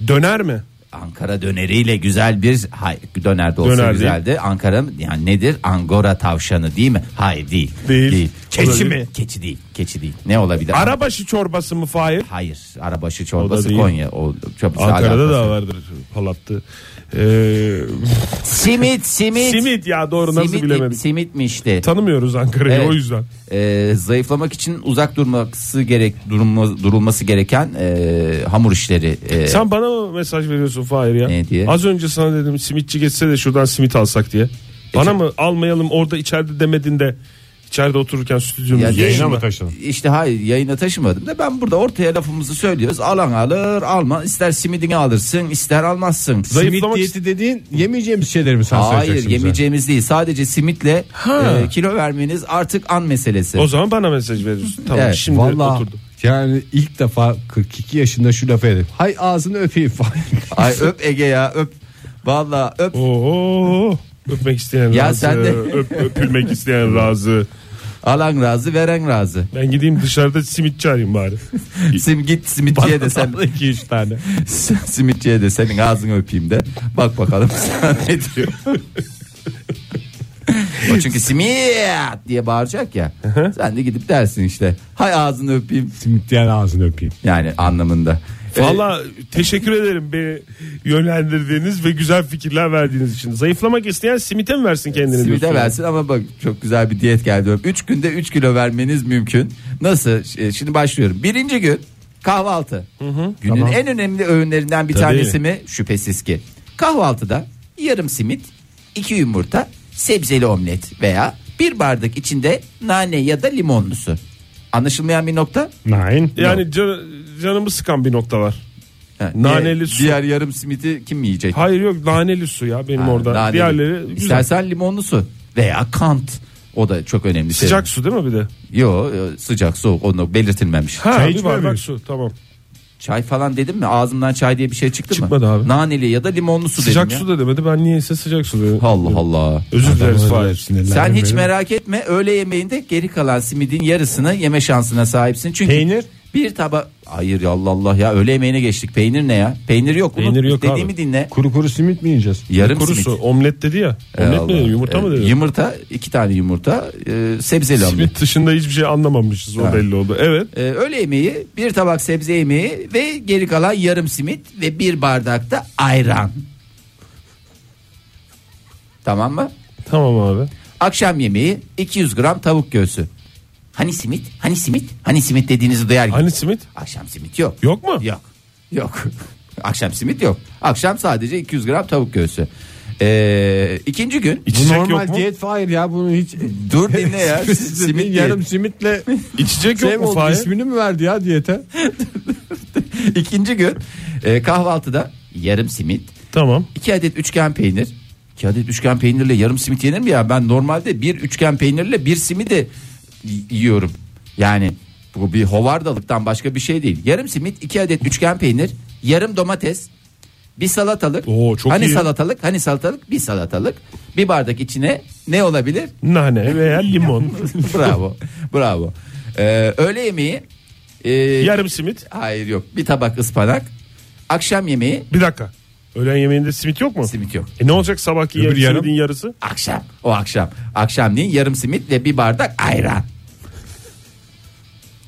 [SPEAKER 3] Döner mi?
[SPEAKER 5] Ankara döneriyle güzel bir hayır, döner de olsa
[SPEAKER 3] Döner değil.
[SPEAKER 5] güzeldi. Ankara yani nedir? Angora tavşanı değil mi? Hayır değil.
[SPEAKER 3] Değil.
[SPEAKER 5] Keçi
[SPEAKER 3] Olabilir.
[SPEAKER 5] mi? Keçi değil. Keçi değil. Ne olabilir?
[SPEAKER 3] Arabaşı çorbası mı Fahir?
[SPEAKER 5] Hayır. Arabaşı çorbası
[SPEAKER 3] değil.
[SPEAKER 5] Konya. O, çok
[SPEAKER 3] Ankara'da
[SPEAKER 5] alakası.
[SPEAKER 3] da vardır palattı. Ee,
[SPEAKER 5] Simit simit.
[SPEAKER 3] simit ya doğru nasıl
[SPEAKER 5] simit,
[SPEAKER 3] bilemedik.
[SPEAKER 5] Simitmişti.
[SPEAKER 3] Tanımıyoruz Ankara'yı
[SPEAKER 5] Evet.
[SPEAKER 3] o yüzden.
[SPEAKER 5] Ee, zayıflamak için uzak durması gerek durulma- durulması gereken e, hamur işleri. e,
[SPEAKER 3] Sen bana mı mesaj veriyorsun Fahir ya?
[SPEAKER 5] Ne diye?
[SPEAKER 3] Az önce sana dedim simitçi geçse de şuradan simit alsak diye.
[SPEAKER 5] E
[SPEAKER 3] Bana mı almayalım orada içeride demedin de içeride otururken stüdyomuzda.
[SPEAKER 5] Ya
[SPEAKER 2] Yayına
[SPEAKER 5] değil
[SPEAKER 2] mı
[SPEAKER 5] mi?
[SPEAKER 2] taşıdın?
[SPEAKER 5] İşte hayır yayına taşımadım da ben burada ortaya lafımızı söylüyoruz. Alan alır alma ister simidini alırsın ister almazsın.
[SPEAKER 2] Simit
[SPEAKER 3] Zayıflamak
[SPEAKER 2] diyeti dediğin yemeyeceğimiz şeyleri mi sen
[SPEAKER 5] Hayır
[SPEAKER 2] söyleyeceksin bize?
[SPEAKER 5] yemeyeceğimiz değil sadece simitle
[SPEAKER 3] Ha.
[SPEAKER 5] e, kilo vermeniz artık an meselesi.
[SPEAKER 3] O zaman bana mesaj veriyorsun. Tamam
[SPEAKER 5] Evet,
[SPEAKER 3] şimdi
[SPEAKER 2] Vallahi
[SPEAKER 3] oturdum.
[SPEAKER 2] yani ilk defa 42 yaşında şu lafı edip hay ağzını öpeyim falan.
[SPEAKER 5] Ay öp Ege ya öp. Valla öp.
[SPEAKER 3] Oo, öpmek isteyen
[SPEAKER 5] Ya
[SPEAKER 3] razı.
[SPEAKER 5] sen de-
[SPEAKER 3] öp- öpülmek isteyen razı.
[SPEAKER 5] Alan razı veren razı.
[SPEAKER 3] Ben gideyim dışarıda simitçi arayayım bari.
[SPEAKER 5] Sim git simitçiye de sen
[SPEAKER 2] 2-3 tane.
[SPEAKER 5] simitçiye de senin ağzını öpeyim de bak bakalım sana ne diyor. o çünkü simit diye bağıracak ya. sen de gidip dersin işte. Hay ağzını öpeyim
[SPEAKER 2] Simit diyen ağzını öpeyim.
[SPEAKER 5] yani anlamında.
[SPEAKER 3] Valla teşekkür ederim beni yönlendirdiğiniz ve güzel fikirler verdiğiniz için. Zayıflamak isteyen simite mi versin kendini?
[SPEAKER 5] Simite
[SPEAKER 3] diyorsun?
[SPEAKER 5] versin ama bak çok güzel bir diyet geldi. 3 günde 3 kilo vermeniz mümkün. Nasıl? Ş- e, Şimdi başlıyorum. Birinci gün kahvaltı. Günün
[SPEAKER 2] Tamam.
[SPEAKER 5] en önemli öğünlerinden bir
[SPEAKER 3] Tabii.
[SPEAKER 5] tanesi mi? Şüphesiz ki. Kahvaltıda yarım simit, 2 yumurta, sebzeli omlet veya bir bardak içinde nane ya da limonlu su. Anlaşılmayan bir nokta.
[SPEAKER 2] Nine.
[SPEAKER 3] Yani can, canımı sıkan bir nokta var.
[SPEAKER 5] Ha,
[SPEAKER 3] Naneli
[SPEAKER 5] diğer,
[SPEAKER 3] su.
[SPEAKER 5] Diğer yarım simiti kim yiyecek?
[SPEAKER 3] Hayır yok naneli su ya benim
[SPEAKER 5] Ha,
[SPEAKER 3] orada.
[SPEAKER 5] naneli.
[SPEAKER 3] Diğerleri güzel.
[SPEAKER 5] İstersen limonlu su veya kant. O da çok önemli. şey.
[SPEAKER 3] Sıcak su değil mi bir de?
[SPEAKER 5] Yo yo, sıcak soğuk onu belirtilmemiş.
[SPEAKER 3] Ha,
[SPEAKER 2] Çay
[SPEAKER 3] bir
[SPEAKER 2] içmiyor
[SPEAKER 3] bardak
[SPEAKER 2] muyuz?
[SPEAKER 3] su tamam.
[SPEAKER 5] Çay falan dedim mi ağzımdan çay diye bir şey çıktı
[SPEAKER 3] Çıkmadı
[SPEAKER 5] mı?
[SPEAKER 3] abi.
[SPEAKER 5] Naneli ya da limonlu su
[SPEAKER 3] sıcak
[SPEAKER 5] dedim
[SPEAKER 3] su
[SPEAKER 5] ya.
[SPEAKER 3] da demedi ben niyeyse sıcak su dedim.
[SPEAKER 5] Allah Allah.
[SPEAKER 3] Özür dileriz
[SPEAKER 2] Öyle
[SPEAKER 3] Fahir.
[SPEAKER 2] sinirlendim
[SPEAKER 5] Sen hiç
[SPEAKER 2] benim.
[SPEAKER 5] merak etme öğle yemeğinde geri kalan simidin yarısını yeme şansına sahipsin. Çünkü
[SPEAKER 2] Peynir?
[SPEAKER 5] Bir taba Hayır ya Allah Allah ya öğle yemeğine geçtik. Peynir ne ya? Peynir yok.
[SPEAKER 3] Peynir
[SPEAKER 5] Unut-
[SPEAKER 3] yok
[SPEAKER 5] Dediğimi
[SPEAKER 3] abi.
[SPEAKER 5] dinle.
[SPEAKER 2] Kuru kuru simit mi yiyeceğiz?
[SPEAKER 5] Yarım
[SPEAKER 3] Kuru
[SPEAKER 5] simit.
[SPEAKER 3] su omlet dedi ya.
[SPEAKER 5] Ey
[SPEAKER 3] Omlet
[SPEAKER 5] Allah.
[SPEAKER 3] mi dedi yumurta mı
[SPEAKER 5] Ee,
[SPEAKER 3] dedi?
[SPEAKER 5] Yumurta iki tane yumurta e, sebzeli omlet.
[SPEAKER 3] Simit dışında hiçbir şey anlamamışız o
[SPEAKER 5] Ha.
[SPEAKER 3] belli oldu. Evet.
[SPEAKER 5] Ee, öğle yemeği bir tabak sebze yemeği ve geri kalan yarım simit ve bir bardakta ayran. Tamam mı?
[SPEAKER 3] Tamam abi.
[SPEAKER 5] Akşam yemeği 200 gram tavuk göğsü. Hani simit? Hani simit? Hani simit dediğinizi duyar gibi.
[SPEAKER 3] Hani simit?
[SPEAKER 5] Akşam simit yok.
[SPEAKER 3] Yok mu?
[SPEAKER 5] Yok. Yok. Akşam simit yok. Akşam sadece 200 gram tavuk göğsü. Ee, ikinci gün
[SPEAKER 2] Bu
[SPEAKER 3] İçecek yok
[SPEAKER 2] normal
[SPEAKER 3] mu?
[SPEAKER 2] diyet hayır ya bunu hiç
[SPEAKER 5] dur dinle ya. simit
[SPEAKER 2] simit
[SPEAKER 5] diyet.
[SPEAKER 2] yarım simitle
[SPEAKER 3] İçecek yok
[SPEAKER 2] Sev
[SPEAKER 3] mu
[SPEAKER 2] oldu,
[SPEAKER 3] Fahir?
[SPEAKER 2] ismini mi verdi ya diyete?
[SPEAKER 5] İkinci gün e, kahvaltıda yarım simit,
[SPEAKER 3] Tamam.
[SPEAKER 5] 2 adet üçgen peynir. 2 adet üçgen peynirle yarım simit yenir mi ya? Ben normalde bir üçgen peynirle bir simidi y- yiyorum. Yani bu bir hovardalıktan başka bir şey değil. Yarım simit, 2 adet üçgen peynir, yarım domates, bir salatalık.
[SPEAKER 3] Oo, çok
[SPEAKER 5] hani
[SPEAKER 3] iyi.
[SPEAKER 5] salatalık, hani salatalık, bir salatalık. Bir bardak içine ne olabilir?
[SPEAKER 3] Nane veya limon.
[SPEAKER 5] bravo. Bravo. Ee, öğle yemeği e,
[SPEAKER 3] Yarım simit.
[SPEAKER 5] Hayır yok. Bir tabak ıspanak. Akşam yemeği
[SPEAKER 3] Bir dakika. Öğlen yemeğinde simit yok mu?
[SPEAKER 5] Simit yok.
[SPEAKER 3] E ne olacak sabahki yarısı,
[SPEAKER 2] yarım?
[SPEAKER 3] yarım. yarısı?
[SPEAKER 5] Akşam. O akşam. Akşamleyin yarım simit ve bir bardak ayran.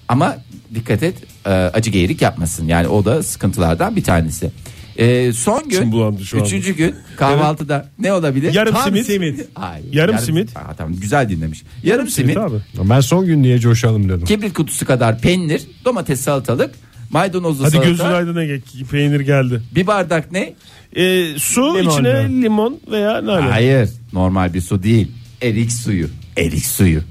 [SPEAKER 5] Ama dikkat et e, acı geyirik yapmasın. Yani o da sıkıntılardan bir tanesi. E, son gün.
[SPEAKER 3] İçim bulandı şu anda.
[SPEAKER 5] üçüncü gün kahvaltıda ne olabilir?
[SPEAKER 3] Yarım
[SPEAKER 5] Tam-
[SPEAKER 3] simit.
[SPEAKER 5] Hayır,
[SPEAKER 3] Yarım simit.
[SPEAKER 5] Aa, tamam güzel dinlemiş. Yarım, simit.
[SPEAKER 3] Simit abi.
[SPEAKER 2] Ben son gün niye coşalım dedim.
[SPEAKER 5] Kibrit kutusu kadar peynir, domates salatalık, maydanozlu
[SPEAKER 3] Hadi
[SPEAKER 5] salata.
[SPEAKER 3] gözün aydın Ege peynir geldi.
[SPEAKER 5] Bir bardak ne?
[SPEAKER 3] E, su
[SPEAKER 2] Limon
[SPEAKER 3] içine
[SPEAKER 2] ya.
[SPEAKER 3] limon veya nane.
[SPEAKER 5] Hayır, normal bir su değil. Erik suyu. Erik suyu.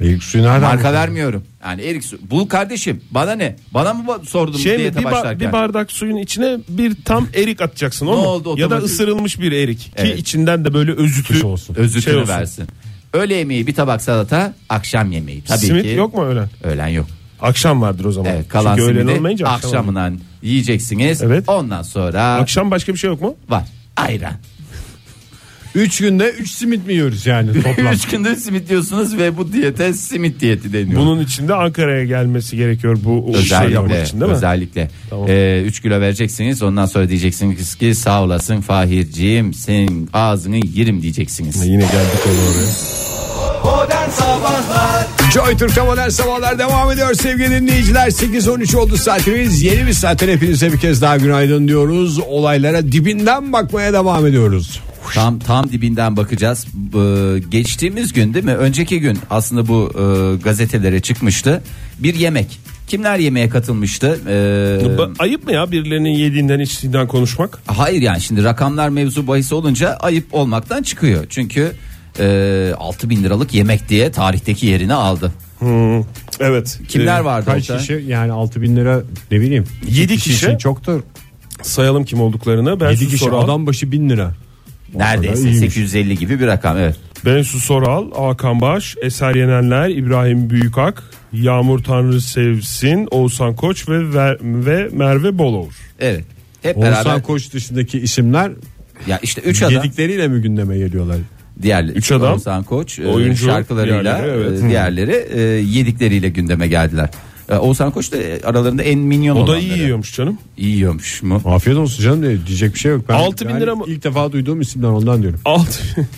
[SPEAKER 2] İlk suyu nereden
[SPEAKER 5] Marka
[SPEAKER 2] buldun?
[SPEAKER 5] vermiyorum. Yani Erik su. Bul kardeşim. Bana ne? Bana mı ba- sordun
[SPEAKER 3] Şey
[SPEAKER 5] bu
[SPEAKER 3] mi, bir,
[SPEAKER 5] diyete
[SPEAKER 3] ba-
[SPEAKER 5] başlarken?
[SPEAKER 3] bir bardak suyun içine bir tam erik atacaksın o
[SPEAKER 5] Ne
[SPEAKER 3] mu?
[SPEAKER 5] oldu
[SPEAKER 3] ya da
[SPEAKER 5] otomatik?
[SPEAKER 3] ısırılmış bir erik
[SPEAKER 5] Evet.
[SPEAKER 3] ki içinden de böyle özütü
[SPEAKER 2] Kuş olsun.
[SPEAKER 5] Özütünü
[SPEAKER 3] şey olsun.
[SPEAKER 5] versin. Öğle yemeği bir tabak salata, akşam yemeği. Tabii
[SPEAKER 3] Simit
[SPEAKER 5] ki.
[SPEAKER 3] yok mu öğlen?
[SPEAKER 5] Öğlen yok.
[SPEAKER 3] Akşam vardır o zaman.
[SPEAKER 5] Evet, kalan
[SPEAKER 3] Çünkü öğlen
[SPEAKER 5] simidi
[SPEAKER 3] olmayınca akşam. olur.
[SPEAKER 5] akşamından yiyeceksiniz.
[SPEAKER 3] Evet.
[SPEAKER 5] Ondan sonra
[SPEAKER 3] Akşam başka bir şey yok mu?
[SPEAKER 5] var. Ayran.
[SPEAKER 2] Üç günde üç simit mi yiyoruz yani toplam?
[SPEAKER 5] Üç gündür simit diyorsunuz ve bu diyete simit diyeti deniyor.
[SPEAKER 3] Bunun içinde Ankara'ya gelmesi gerekiyor bu şey
[SPEAKER 5] özellikle
[SPEAKER 3] yapmak için değil mi?
[SPEAKER 5] özellikle
[SPEAKER 3] Tamam.
[SPEAKER 5] 3 kilo vereceksiniz ondan sonra diyeceksiniz ki sağ olasın Fahir'ciğim senin ağzını yerim diyeceksiniz.
[SPEAKER 3] Yine geldik onu oraya.
[SPEAKER 4] Modern Sabahlar
[SPEAKER 2] Joy Türk'te modern sabahlar devam ediyor sevgili dinleyiciler. 8-13 oldu saatimiz. Yeni bir saatten hepinize bir kez daha günaydın diyoruz. Olaylara dibinden bakmaya devam ediyoruz.
[SPEAKER 5] Tam tam dibinden bakacağız. Ee, geçtiğimiz gün değil mi? Önceki gün aslında bu e, gazetelere çıkmıştı. Bir yemek. Kimler yemeğe katılmıştı? Ee,
[SPEAKER 3] Ba- Ayıp mı ya birilerinin yediğinden içtiğinden konuşmak?
[SPEAKER 5] Hayır yani şimdi rakamlar mevzu bahis olunca ayıp olmaktan çıkıyor. Çünkü e, 6 bin liralık yemek diye tarihteki yerini aldı.
[SPEAKER 3] Evet.
[SPEAKER 5] Kimler
[SPEAKER 3] Ee,
[SPEAKER 5] vardı
[SPEAKER 2] Kaç
[SPEAKER 5] orada?
[SPEAKER 2] kişi yani 6000 bin lira ne bileyim.
[SPEAKER 3] Yedi kişi.
[SPEAKER 2] için çoktur.
[SPEAKER 3] Sayalım kim olduklarını. Ben
[SPEAKER 2] 7
[SPEAKER 3] Su
[SPEAKER 2] kişi
[SPEAKER 3] Soral,
[SPEAKER 2] adam başı 1000 lira.
[SPEAKER 5] Neredeyse
[SPEAKER 2] iyiymiş.
[SPEAKER 5] 850 gibi bir rakam evet.
[SPEAKER 3] Bensu Soral, Hakan Baş, Eser Yenenler, İbrahim Büyükak, Yağmur Tanrı Sevsin, Oğuzhan Koç ve Ver- ve Merve Boloğur.
[SPEAKER 5] Evet. Hep beraber
[SPEAKER 2] Oğuzhan Koç dışındaki isimler
[SPEAKER 5] ya işte 3 adam
[SPEAKER 2] yedikleriyle mi gündeme geliyorlar?
[SPEAKER 5] diğer
[SPEAKER 3] Üç adam,
[SPEAKER 5] Oğuzhan Koç e,
[SPEAKER 3] oyuncu,
[SPEAKER 5] şarkılarıyla
[SPEAKER 3] diğerleri, evet.
[SPEAKER 5] e, diğerleri e, yedikleriyle gündeme geldiler. E, Oğuzhan Koç da e, aralarında en minyon
[SPEAKER 3] O da
[SPEAKER 5] olanları.
[SPEAKER 3] iyi yiyormuş canım.
[SPEAKER 5] İyi yiyormuş mu?
[SPEAKER 2] Afiyet olsun canım diye diyecek bir şey yok. Ben
[SPEAKER 3] Altı bin
[SPEAKER 2] yani
[SPEAKER 3] lira mı?
[SPEAKER 2] İlk defa duyduğum isimler ondan diyorum.
[SPEAKER 3] 6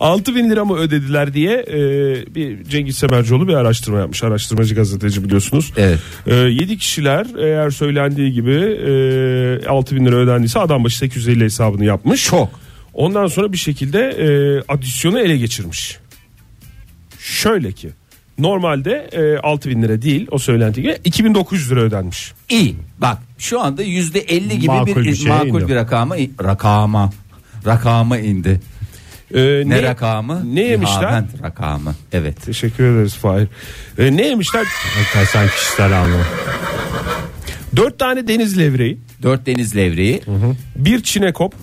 [SPEAKER 3] 6 bin lira mı ödediler diye e, bir Cengiz Semercioğlu bir araştırma yapmış. Araştırmacı gazeteci biliyorsunuz.
[SPEAKER 5] Evet.
[SPEAKER 3] 7 kişiler eğer söylendiği gibi e, 6 bin lira ödendiyse adam başı 850 hesabını yapmış. Çok. Ondan sonra bir şekilde e, adisyonu ele geçirmiş. Şöyle ki normalde e, 6 bin lira değil o söylenti gibi 2900 lira ödenmiş.
[SPEAKER 5] İyi. Bak şu anda %50 gibi
[SPEAKER 2] Makul
[SPEAKER 5] bir,
[SPEAKER 2] bir
[SPEAKER 5] e,
[SPEAKER 3] şey
[SPEAKER 2] şeye
[SPEAKER 5] makul
[SPEAKER 2] indi.
[SPEAKER 5] bir rakama rakama rakama indi.
[SPEAKER 3] E,
[SPEAKER 5] Ne, rakamı?
[SPEAKER 3] Ne yemişler?
[SPEAKER 5] Nihavend rakamı. Evet.
[SPEAKER 3] Teşekkür ederiz Fahir. E, ne yemişler?
[SPEAKER 2] Hatta sen kişisel anlamı.
[SPEAKER 3] 4 tane deniz levreği.
[SPEAKER 5] Dört deniz levreği.
[SPEAKER 3] Bir çinekop.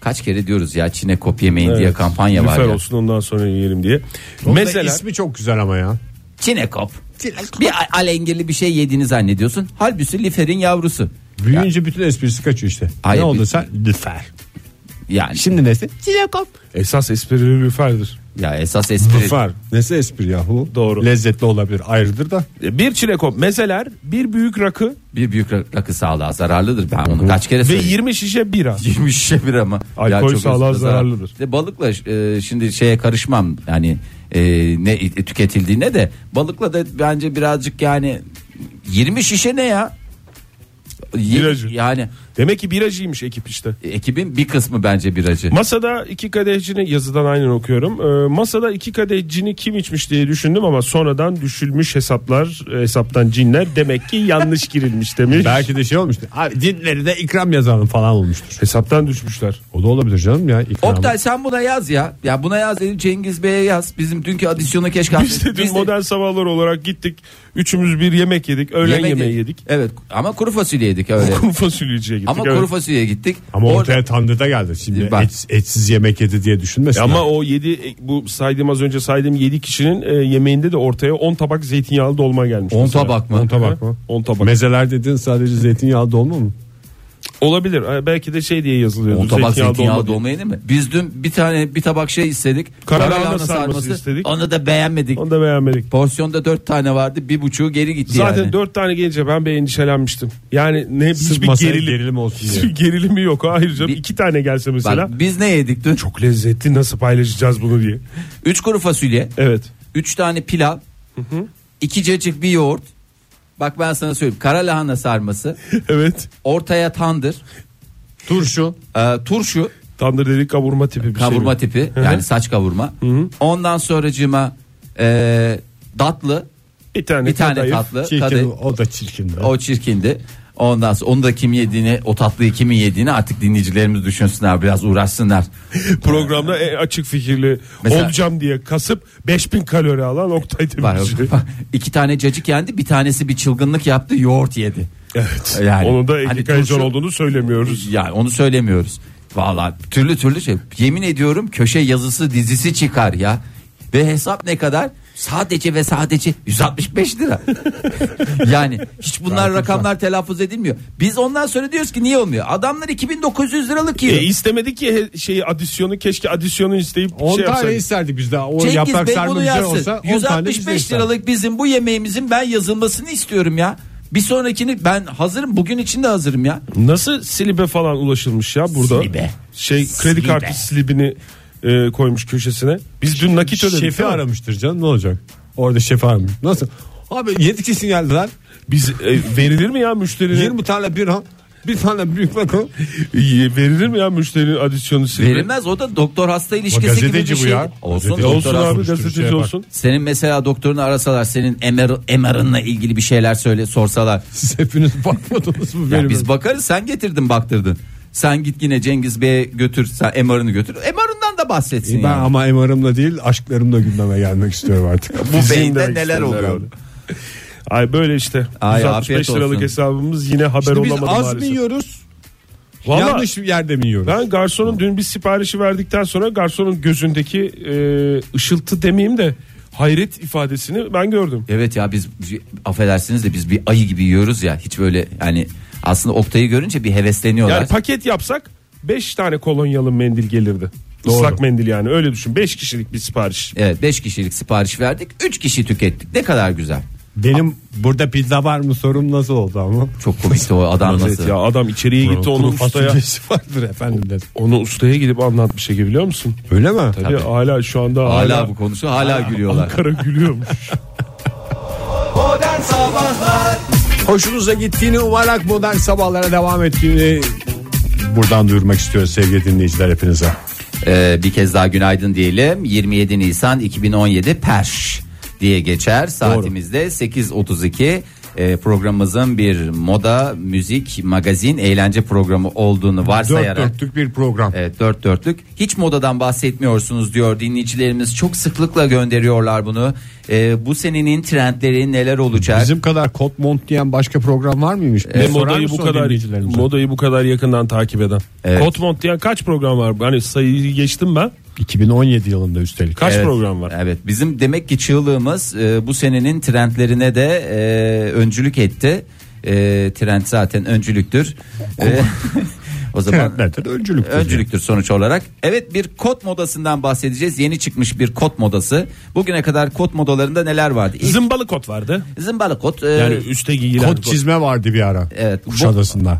[SPEAKER 5] Kaç kere diyoruz ya Çinekop yemeyin diye
[SPEAKER 3] Evet.
[SPEAKER 5] kampanya var
[SPEAKER 3] Lüfer
[SPEAKER 5] ya.
[SPEAKER 3] olsun ondan sonra yiyelim diye.
[SPEAKER 2] Mesela
[SPEAKER 3] Mesela
[SPEAKER 2] ismi çok güzel ama ya.
[SPEAKER 5] Çinekop. Bir a- alengirli bir şey yediğini zannediyorsun. Halbuki liferin yavrusu.
[SPEAKER 2] Büyüyünce bütün esprisi kaçıyor işte.
[SPEAKER 5] Hayır,
[SPEAKER 2] ne oldu
[SPEAKER 5] bir-
[SPEAKER 2] sen? Lüfer.
[SPEAKER 5] Yani
[SPEAKER 2] Şimdi nesi?
[SPEAKER 3] esas esprili lüferdir.
[SPEAKER 5] ya esas espri.
[SPEAKER 2] Lüfer. Nesi espri yahu?
[SPEAKER 3] Doğru.
[SPEAKER 2] Lezzetli olabilir ayrıdır da.
[SPEAKER 3] E, Bir çinekop mezeler, bir büyük rakı
[SPEAKER 5] Bir büyük ra- rakı sağlığa zararlıdır. Ben onu kaç kere
[SPEAKER 3] ve
[SPEAKER 5] söyledim.
[SPEAKER 3] 20 şişe bira.
[SPEAKER 5] 20 şişe bir ama.
[SPEAKER 3] Alkol sağlığa zararlıdır.
[SPEAKER 5] De balıkla e, şimdi şeye karışmam. Yani e, ne e, tüketildiğine de balıkla da bence birazcık yani 20 şişe ne ya? Ye-
[SPEAKER 3] Biracı.
[SPEAKER 5] Yani
[SPEAKER 3] Demek ki biracıymış ekip işte.
[SPEAKER 5] ekibin bir kısmı bence biracı.
[SPEAKER 3] Masada iki kadehcini yazıdan aynen okuyorum. E, masada iki kadehcini kim içmiş diye düşündüm ama sonradan düşülmüş hesaplar e, hesaptan cinler demek ki yanlış girilmiş demiş.
[SPEAKER 2] Belki de şey olmuştu. Abi dinleri de ikram yazalım falan olmuştur.
[SPEAKER 3] hesaptan düşmüşler.
[SPEAKER 2] O da olabilir canım ya. ikram.
[SPEAKER 5] Oktay sen buna yaz ya. Ya buna yaz dedim Cengiz Bey'e yaz. Bizim dünkü adisyonu keşke
[SPEAKER 3] Biz de dün modern sabahlar olarak gittik. Üçümüz bir yemek yedik. Öğlen
[SPEAKER 5] yemek
[SPEAKER 3] yemeği yedik.
[SPEAKER 5] Evet ama kuru fasulye yedik öyle.
[SPEAKER 3] Kuru fasulyeciye gittik.
[SPEAKER 5] ama
[SPEAKER 3] evet.
[SPEAKER 5] kuru fasulyeye gittik.
[SPEAKER 2] Ama
[SPEAKER 5] Orada-
[SPEAKER 2] ortaya tandırda geldi. Şimdi
[SPEAKER 5] Bak.
[SPEAKER 2] et- etsiz yemek yedi diye düşünmesin.
[SPEAKER 3] Ya Ama o 7 bu saydığım az önce saydığım 7 kişinin e, yemeğinde de ortaya 10 tabak zeytinyağlı dolma gelmiş.
[SPEAKER 5] 10
[SPEAKER 3] mesela.
[SPEAKER 5] tabak mı?
[SPEAKER 2] On tabak mı?
[SPEAKER 3] 10 tabak.
[SPEAKER 2] Mezeler dediğin sadece zeytinyağlı dolma mı?
[SPEAKER 3] Olabilir. Ha, Belki de şey diye yazılıyor.
[SPEAKER 5] O tabak zeytinyağı
[SPEAKER 3] dolma.
[SPEAKER 5] dolmayı değil mi? Biz dün bir tane bir tabak şey istedik.
[SPEAKER 3] Karalahana sarması istedik.
[SPEAKER 5] Onu da beğenmedik.
[SPEAKER 3] Onu da beğenmedik.
[SPEAKER 5] Porsiyonda dört tane vardı. Bir buçuğu geri gitti
[SPEAKER 3] Zaten
[SPEAKER 5] yani.
[SPEAKER 3] dört tane gelince ben bir endişelenmiştim. Yani ne hiçbir
[SPEAKER 2] masaya
[SPEAKER 3] gerilim,
[SPEAKER 2] gerilim olsun diye.
[SPEAKER 3] Hiçbir gerilimi yok. Hayır canım
[SPEAKER 5] Bir-
[SPEAKER 3] iki tane gelse
[SPEAKER 5] Bak,
[SPEAKER 3] mesela.
[SPEAKER 5] biz ne yedik dün?
[SPEAKER 3] Çok lezzetli nasıl paylaşacağız bunu diye.
[SPEAKER 5] Üç kuru fasulye,
[SPEAKER 3] Evet.
[SPEAKER 5] üç tane pilav, iki cacık bir yoğurt. Bak ben sana söyleyeyim. Kara lahana sarması,
[SPEAKER 3] Evet.
[SPEAKER 5] ortaya tandır,
[SPEAKER 2] Turşu.
[SPEAKER 5] e, turşu,
[SPEAKER 3] Tandır dedik kavurma tipi bir
[SPEAKER 5] kavurma
[SPEAKER 3] şey. mi?
[SPEAKER 5] tipi
[SPEAKER 3] Hı hı.
[SPEAKER 5] yani saç kavurma. Ondan sonracığıma e, datlı,
[SPEAKER 3] Bir tane,
[SPEAKER 5] bir tane
[SPEAKER 3] kadayıf.
[SPEAKER 5] tatlı,
[SPEAKER 2] Çirkin,
[SPEAKER 5] kadayıf.
[SPEAKER 2] o da çirkin.
[SPEAKER 5] O çirkindi. Ondan sonra onu da kim yediğini, o tatlıyı kimin yediğini artık dinleyicilerimiz düşünsünler, biraz uğraşsınlar.
[SPEAKER 3] Programda en açık fikirli
[SPEAKER 5] Mesela-
[SPEAKER 3] olacağım diye kasıp 5000 kalori alan Oktay
[SPEAKER 5] Var,
[SPEAKER 3] Demirci.
[SPEAKER 5] iki tane cacık yendi, bir tanesi bir çılgınlık yaptı, yoğurt yedi.
[SPEAKER 3] evet.
[SPEAKER 5] Yani-
[SPEAKER 3] Onun da
[SPEAKER 5] Hani
[SPEAKER 3] Eklik
[SPEAKER 5] turşu-
[SPEAKER 3] olduğunu söylemiyoruz.
[SPEAKER 5] Yani onu söylemiyoruz. Vallahi türlü türlü şey. Yemin ediyorum köşe yazısı dizisi çıkar ya. Ve hesap ne kadar? Sadece ve sadece 165 lira. yani hiç bunlar rakamlar telaffuz edilmiyor. Biz ondan sonra diyoruz ki niye olmuyor? Adamlar 2900 liralık yiyor.
[SPEAKER 3] E, istemedi ki he- şeyi adisyonu keşke adisyonu isteyip
[SPEAKER 2] 10
[SPEAKER 3] şey
[SPEAKER 2] tane
[SPEAKER 3] yapsaydı.
[SPEAKER 2] isterdik biz daha. O
[SPEAKER 5] Cengiz
[SPEAKER 2] yaprak
[SPEAKER 5] Bey
[SPEAKER 2] sarma
[SPEAKER 5] bunu
[SPEAKER 2] güzel
[SPEAKER 5] yazsın.
[SPEAKER 2] olsa 10 tane biz de
[SPEAKER 5] 165
[SPEAKER 2] isterdik.
[SPEAKER 5] liralık bizim bu yemeğimizin ben yazılmasını istiyorum ya. Bir sonrakini ben hazırım. Bugün için de hazırım ya.
[SPEAKER 3] Nasıl silibe falan ulaşılmış ya burada?
[SPEAKER 5] Silibe.
[SPEAKER 3] Şey
[SPEAKER 5] Silibe.
[SPEAKER 3] kredi kartı silibini e, koymuş köşesine. Biz dün nakit
[SPEAKER 5] şey
[SPEAKER 3] ödedik.
[SPEAKER 2] Şefi
[SPEAKER 3] değil mi?
[SPEAKER 2] aramıştır canım ne olacak? Orada şefi aramış. Nasıl? Abi yetkisi sinyaldiler.
[SPEAKER 3] Biz e, verilir mi ya müşterinin?
[SPEAKER 2] 20 tane bira, bir tane büyük rakı.
[SPEAKER 3] E, Verilir mi ya müşterinin adisyonu silibi? E,
[SPEAKER 5] Verilmez o da doktor hasta ilişkisi gibi
[SPEAKER 2] gazeteci
[SPEAKER 5] bir
[SPEAKER 2] bu
[SPEAKER 5] şey.
[SPEAKER 2] ya.
[SPEAKER 5] Olsun,
[SPEAKER 2] Gazeteci.
[SPEAKER 5] doktor
[SPEAKER 3] Olsun
[SPEAKER 5] hasta-
[SPEAKER 3] abi
[SPEAKER 2] konuştuğu
[SPEAKER 3] gazeteci
[SPEAKER 2] şeye bak.
[SPEAKER 3] olsun.
[SPEAKER 5] Senin mesela doktorunu arasalar senin MR, MR'ınla ilgili bir şeyler söyle sorsalar.
[SPEAKER 2] Siz hepiniz bakmadınız mı
[SPEAKER 5] Ya
[SPEAKER 2] benim?
[SPEAKER 5] biz bakarız sen getirdin baktırdın. Sen git yine Cengiz Bey'e götür sen MR'ını götür. MR'ından da bahsetsin.
[SPEAKER 2] ben
[SPEAKER 5] yani.
[SPEAKER 2] ama emarımla değil aşklarımla gündeme gelmek istiyorum artık.
[SPEAKER 5] bu
[SPEAKER 3] Bizim de
[SPEAKER 5] beyinde neler
[SPEAKER 3] isteyenler
[SPEAKER 5] oluyor?
[SPEAKER 3] oldu. Ay böyle işte.
[SPEAKER 5] Ay,
[SPEAKER 3] 165
[SPEAKER 5] afiyet
[SPEAKER 3] liralık
[SPEAKER 5] olsun.
[SPEAKER 3] hesabımız yine haber
[SPEAKER 2] Şimdi biz
[SPEAKER 3] olamadı
[SPEAKER 2] az mı
[SPEAKER 3] maalesef.
[SPEAKER 2] yiyoruz?
[SPEAKER 3] Vallahi
[SPEAKER 2] yanlış yerde mi yiyoruz?
[SPEAKER 3] Ben garsonun dün bir siparişi verdikten sonra garsonun gözündeki e, ışıltı demeyeyim de hayret ifadesini ben gördüm.
[SPEAKER 5] Evet ya biz affedersiniz de biz bir ayı gibi yiyoruz ya hiç böyle yani aslında Oktay'ı görünce bir hevesleniyorlar.
[SPEAKER 3] Yani paket yapsak 5 tane kolonyalı mendil gelirdi. Islak mendil yani öyle düşün. 5 kişilik bir sipariş.
[SPEAKER 5] Evet 5 kişilik sipariş verdik 3 kişi tükettik ne kadar güzel.
[SPEAKER 2] Benim burada pizza var mı sorum nasıl oldu ama.
[SPEAKER 5] Çok komikti o adam nasıl.
[SPEAKER 3] Evet ya adam içeriye gitti onu
[SPEAKER 2] Bunun
[SPEAKER 3] ustaya
[SPEAKER 2] fasulyesi vardır efendim dedi.
[SPEAKER 3] onu ustaya gidip anlatmış Ege biliyor musun?
[SPEAKER 2] Öyle mi?
[SPEAKER 3] Tabii hala şu anda
[SPEAKER 5] Hala,
[SPEAKER 3] hala,
[SPEAKER 5] bu konuşu hala gülüyorlar.
[SPEAKER 3] Ankara gülüyormuş.
[SPEAKER 4] Modern Sabahlar
[SPEAKER 2] Hoşunuza gittiğini umarak modern sabahlara devam ettiğini buradan duyurmak istiyoruz sevgili dinleyiciler hepinize.
[SPEAKER 5] Ee, bir kez daha günaydın diyelim. 27 Nisan 2017 Perş diye geçer. Saatimizde 8.32 Ee, programımızın bir moda, müzik, magazin, eğlence programı olduğunu
[SPEAKER 2] Dört
[SPEAKER 5] varsayarak
[SPEAKER 2] dörtlük bir program.
[SPEAKER 5] Evet, E, dört dörtlük. Hiç modadan bahsetmiyorsunuz diyor dinleyicilerimiz. Çok sıklıkla gönderiyorlar bunu. Ee, bu senenin trendleri neler olacak?
[SPEAKER 2] Bizim kadar kot mont diyen başka program var mıymış?
[SPEAKER 3] Ve
[SPEAKER 2] Bir Ee, sorar
[SPEAKER 3] modayı bu
[SPEAKER 2] mısın o
[SPEAKER 3] kadar
[SPEAKER 2] dinleyicilerimize?
[SPEAKER 3] modayı bu kadar yakından takip eden.
[SPEAKER 5] Evet.
[SPEAKER 3] Kot mont diyen kaç program var? Hani sayıyı geçtim ben.
[SPEAKER 2] 2017 yılında üstelik.
[SPEAKER 3] Kaç
[SPEAKER 5] Evet,
[SPEAKER 3] program var?
[SPEAKER 5] Evet bizim demek ki çığlığımız e, bu senenin trendlerine de e, öncülük etti. E, trend zaten öncülüktür. E, o zaman
[SPEAKER 2] Trendlerden öncülüktür.
[SPEAKER 5] öncülüktür sonuç olarak. Evet bir kot modasından bahsedeceğiz. Yeni çıkmış bir kot modası. Bugüne kadar kot modalarında neler vardı? İlk
[SPEAKER 3] Zımbalı kot vardı.
[SPEAKER 5] zımbalı kot. e,
[SPEAKER 3] Yani üste giyilen
[SPEAKER 2] Kot
[SPEAKER 3] kot.
[SPEAKER 2] çizme vardı bir ara.
[SPEAKER 5] Evet, bu-
[SPEAKER 2] Kuşadası'nda.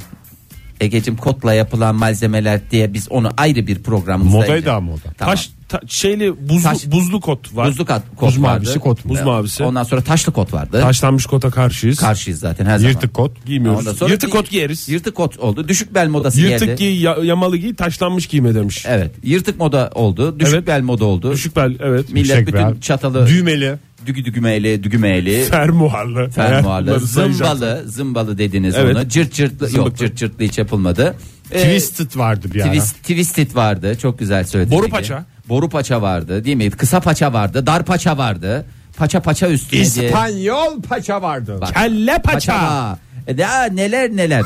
[SPEAKER 5] Egeciğim kotla yapılan malzemeler diye biz onu ayrı bir programımızda.
[SPEAKER 2] Modaydı
[SPEAKER 5] ince-
[SPEAKER 2] ama o da.
[SPEAKER 5] Tamam.
[SPEAKER 3] Taş ta- şeyli buzlu
[SPEAKER 5] Taş-
[SPEAKER 3] buzlu kot var.
[SPEAKER 5] Buzlu kat- kot
[SPEAKER 2] Buz
[SPEAKER 5] vardı.
[SPEAKER 2] mavisi kot.
[SPEAKER 3] Buz mavisi.
[SPEAKER 5] Ondan sonra taşlı kot vardı.
[SPEAKER 3] Taşlanmış kota karşıyız.
[SPEAKER 5] Karşıyız zaten her zaman.
[SPEAKER 2] Yırtık kot.
[SPEAKER 3] Giymiyoruz.
[SPEAKER 5] Ondan sonra
[SPEAKER 3] Yırtık
[SPEAKER 5] bir-
[SPEAKER 3] kot giyeriz.
[SPEAKER 5] Yırtık kot oldu. Düşük bel modası
[SPEAKER 3] Yırtık
[SPEAKER 5] geldi.
[SPEAKER 3] giy, ya- yamalı giy, taşlanmış giyme demiş.
[SPEAKER 5] evet. Yırtık moda oldu. Düşük
[SPEAKER 3] Evet.
[SPEAKER 5] bel moda oldu.
[SPEAKER 3] Düşük bel evet.
[SPEAKER 5] Millet
[SPEAKER 2] Yüksek
[SPEAKER 5] bütün
[SPEAKER 2] bel.
[SPEAKER 5] çatalı
[SPEAKER 2] Düğmeli.
[SPEAKER 5] dügü dügümeyle dügümeyle
[SPEAKER 3] Fermuarlı.
[SPEAKER 5] fermuarlı
[SPEAKER 3] Bunları sayacağız.
[SPEAKER 5] zımbalı zımbalı dediniz
[SPEAKER 3] Evet.
[SPEAKER 5] onu. Cırt cırtlı yok
[SPEAKER 3] Zımbıklı.
[SPEAKER 5] cırt cırtlı hiç yapılmadı. Ee,
[SPEAKER 2] Twisted vardı bir ara.
[SPEAKER 5] Twist, twisted vardı. Çok güzel söyledin.
[SPEAKER 3] Boru
[SPEAKER 5] Ege.
[SPEAKER 3] paça.
[SPEAKER 5] Boru paça vardı değil mi? Kısa paça vardı. Dar paça vardı. Paça paça üstüne diye.
[SPEAKER 2] İspanyol paça vardı.
[SPEAKER 5] Bak.
[SPEAKER 3] Kelle paça.
[SPEAKER 5] var. E, Ya neler neler.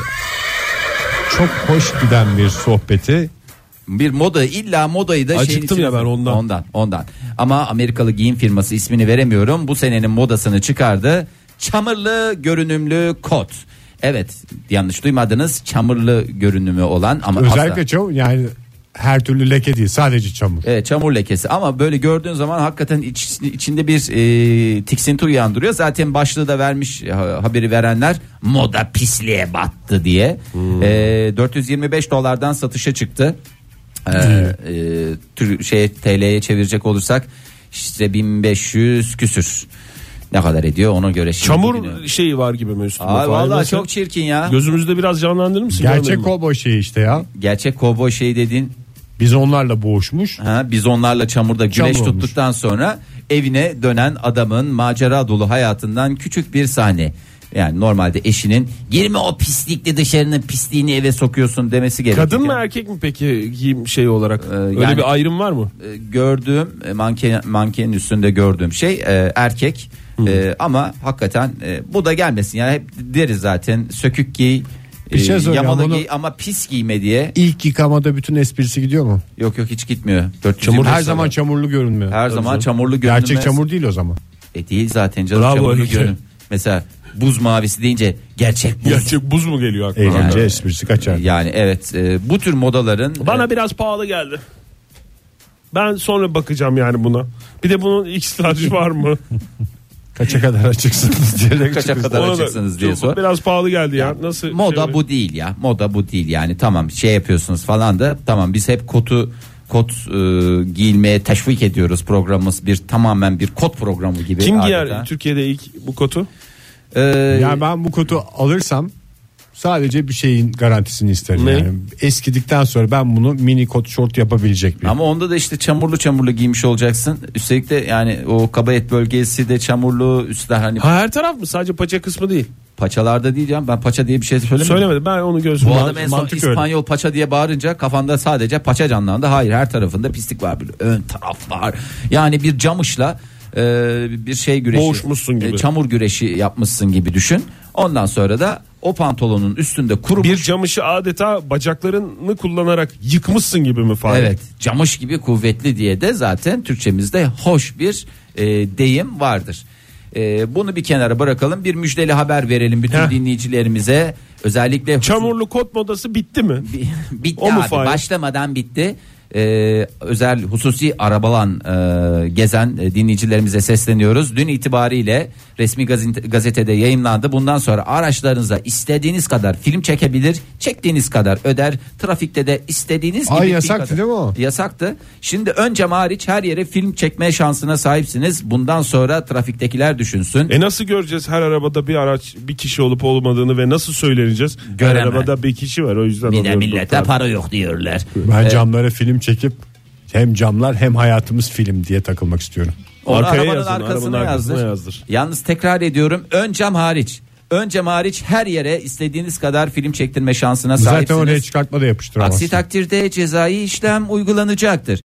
[SPEAKER 2] Çok hoş giden bir sohbeti.
[SPEAKER 5] Bir moda illa modayı da şeyin
[SPEAKER 3] Acıktım ya
[SPEAKER 5] içine-
[SPEAKER 3] ben ondan.
[SPEAKER 5] Ondan ondan. Ama Amerikalı giyim firması ismini veremiyorum. Bu senenin modasını çıkardı. Çamurlu görünümlü kot. Evet yanlış duymadınız çamurlu görünümü olan ama
[SPEAKER 6] Özellikle
[SPEAKER 5] asla-
[SPEAKER 6] çamur yani her türlü leke değil sadece çamur.
[SPEAKER 5] Evet, E, çamur lekesi ama böyle gördüğün zaman hakikaten iç- içinde bir e, tiksinti uyandırıyor. Zaten başlığı da vermiş ha- haberi verenler moda pisliğe battı diye. E, 425 dolardan satışa çıktı. E, e, tür- şeye TL'ye çevirecek olursak işte 1500 küsür. Ne kadar ediyor ona göre şimdi bugünü-
[SPEAKER 3] Çamur şeyi var gibi mi üstünde?
[SPEAKER 5] Ay
[SPEAKER 3] Fahir?
[SPEAKER 5] vallahi
[SPEAKER 3] Mesela
[SPEAKER 5] çok çirkin ya.
[SPEAKER 3] Gözümüzde biraz canlandırır mısın? Görmedim
[SPEAKER 6] Gerçek
[SPEAKER 3] ben.
[SPEAKER 6] o şey işte ya.
[SPEAKER 5] Gerçek kovboy şey dediğin
[SPEAKER 6] Biz onlarla boğuşmuş.
[SPEAKER 5] Ha, biz onlarla çamurda güneş
[SPEAKER 6] Çamur olmuş.
[SPEAKER 5] tuttuktan sonra evine dönen adamın macera dolu hayatından küçük bir sahne. Yani normalde eşinin girme o pislikle dışarının pisliğini eve sokuyorsun demesi gerekiyor.
[SPEAKER 3] Kadın mı
[SPEAKER 6] er-
[SPEAKER 3] erkek mi peki giyim şey olarak? Öyle
[SPEAKER 5] Ee, yani-
[SPEAKER 3] bir ayrım var mı?
[SPEAKER 5] E, gördüğüm e, manken mankenin üstünde gördüğüm şey e, erkek E, ama hakikaten e, bu da gelmesin yani hep deriz zaten sökük giy
[SPEAKER 6] Bir şey
[SPEAKER 5] e,
[SPEAKER 6] söyleyeceğim,
[SPEAKER 5] yamalı
[SPEAKER 6] bunu-
[SPEAKER 5] giy ama pis giyme diye
[SPEAKER 6] İlk yıkamada bütün esprisi gidiyor mu?
[SPEAKER 5] yok yok hiç gitmiyor.
[SPEAKER 6] Çamur her
[SPEAKER 5] 425
[SPEAKER 6] zaman
[SPEAKER 5] dolar.
[SPEAKER 6] çamurlu görünmüyor.
[SPEAKER 5] her zaman çamurlu görünmez.
[SPEAKER 6] Gerçek çamur değil o zaman.
[SPEAKER 5] E değil zaten canım
[SPEAKER 3] Bravo,
[SPEAKER 5] çamurlu
[SPEAKER 3] öyle.
[SPEAKER 5] görünüm. Mesela buz mavisi deyince gerçek buz.
[SPEAKER 3] Gerçek buz mu geliyor aklına?
[SPEAKER 6] Eğlence
[SPEAKER 5] Yani-
[SPEAKER 6] esprisi kaçar.
[SPEAKER 5] Yani evet e, bu tür modaların
[SPEAKER 3] Bana
[SPEAKER 5] e,
[SPEAKER 3] biraz pahalı geldi. Ben sonra bakacağım yani buna. Bir de bunun X large var mı?
[SPEAKER 6] Kaça kadar açıksınız diyerek
[SPEAKER 5] kaça
[SPEAKER 6] çıkıyorsunuz.
[SPEAKER 5] kadar
[SPEAKER 3] Ona da
[SPEAKER 5] açıksınız diye
[SPEAKER 3] çok-
[SPEAKER 5] sor.
[SPEAKER 3] Biraz pahalı geldi ya. Nasıl?
[SPEAKER 5] Moda
[SPEAKER 3] şey-
[SPEAKER 5] bu değil ya. Moda bu değil yani. Tamam şey yapıyorsunuz falan da tamam biz hep kotu kot e, giyilmeye teşvik ediyoruz programımız bir tamamen bir kot programı gibi
[SPEAKER 3] Kim giyer
[SPEAKER 5] adeta.
[SPEAKER 3] Türkiye'de ilk bu kotu?
[SPEAKER 5] E,
[SPEAKER 6] Yani ben bu kutu alırsam sadece bir şeyin garantisini isterim.
[SPEAKER 3] Ne?
[SPEAKER 6] Yani eskidikten sonra ben bunu mini kot şort yapabilecek bir.
[SPEAKER 5] ama onda da işte çamurlu çamurlu giymiş olacaksın. Üstelik de yani o kaba et bölgesi de çamurlu üstler hani
[SPEAKER 3] Ha, her taraf mı? Sadece paça kısmı değil.
[SPEAKER 5] paçalarda diyeceğim. Ben paça diye bir şey söylemedim.
[SPEAKER 3] Söylemedim ben onu gözüm.
[SPEAKER 5] Bu adam en son
[SPEAKER 6] mantık öyle.
[SPEAKER 5] İspanyol paça diye bağırınca kafanda sadece paça canlandı. Hayır her tarafında pislik var. Bir ön taraf var. Yani bir camışla e, bir şey güreşi.
[SPEAKER 3] Boğuşmuşsun gibi.
[SPEAKER 5] çamur güreşi yapmışsın gibi düşün. Ondan sonra da o pantolonun üstünde kurumuş.
[SPEAKER 3] Bir camışı adeta bacaklarını kullanarak yıkmışsın gibi mi Fahir?
[SPEAKER 5] Evet camış gibi kuvvetli diye de zaten Türkçemizde hoş bir e, deyim vardır. E, bunu bir kenara bırakalım bir müjdeli haber verelim bütün
[SPEAKER 3] Heh.
[SPEAKER 5] dinleyicilerimize. Özellikle
[SPEAKER 3] Çamurlu kot modası bitti mi?
[SPEAKER 5] Bi- bitti
[SPEAKER 3] O mu
[SPEAKER 5] abi
[SPEAKER 3] fail?
[SPEAKER 5] başlamadan bitti. Ee, özel hususi arabalan e, gezen e, dinleyicilerimize sesleniyoruz. Dün itibariyle resmi gazete, gazetede yayınlandı. Bundan sonra araçlarınıza istediğiniz kadar film çekebilir, çektiğiniz kadar öder. Trafikte de istediğiniz
[SPEAKER 6] Ay,
[SPEAKER 5] gibi film
[SPEAKER 6] yasaktı
[SPEAKER 5] kadar-
[SPEAKER 6] değil mi o?
[SPEAKER 5] Yasaktı. Şimdi ön cam hariç her yere film çekme şansına sahipsiniz. Bundan sonra trafiktekiler düşünsün.
[SPEAKER 3] E nasıl göreceğiz her arabada bir araç bir kişi olup olmadığını ve nasıl söyleyeceğiz? Her
[SPEAKER 5] Göremem.
[SPEAKER 3] arabada bir kişi var o yüzden
[SPEAKER 5] bir
[SPEAKER 6] E,
[SPEAKER 5] de
[SPEAKER 3] alıyorum
[SPEAKER 5] millete
[SPEAKER 3] doktor.
[SPEAKER 5] para yok diyorlar.
[SPEAKER 6] Ben camlara film çekip hem camlar hem hayatımız film diye takılmak istiyorum.
[SPEAKER 5] Onu
[SPEAKER 3] Arkaya
[SPEAKER 5] arabanın
[SPEAKER 3] yazın,
[SPEAKER 5] arkasına,
[SPEAKER 3] arabanın arkasına
[SPEAKER 5] yazdır.
[SPEAKER 3] yazdır.
[SPEAKER 5] Yalnız tekrar ediyorum ön cam hariç. Ön cam hariç her yere istediğiniz kadar film çektirme şansına
[SPEAKER 6] Zaten oraya
[SPEAKER 5] sahipsiniz.
[SPEAKER 6] çıkartma da yapıştıramazsın.
[SPEAKER 5] Aksi takdirde cezai işlem uygulanacaktır.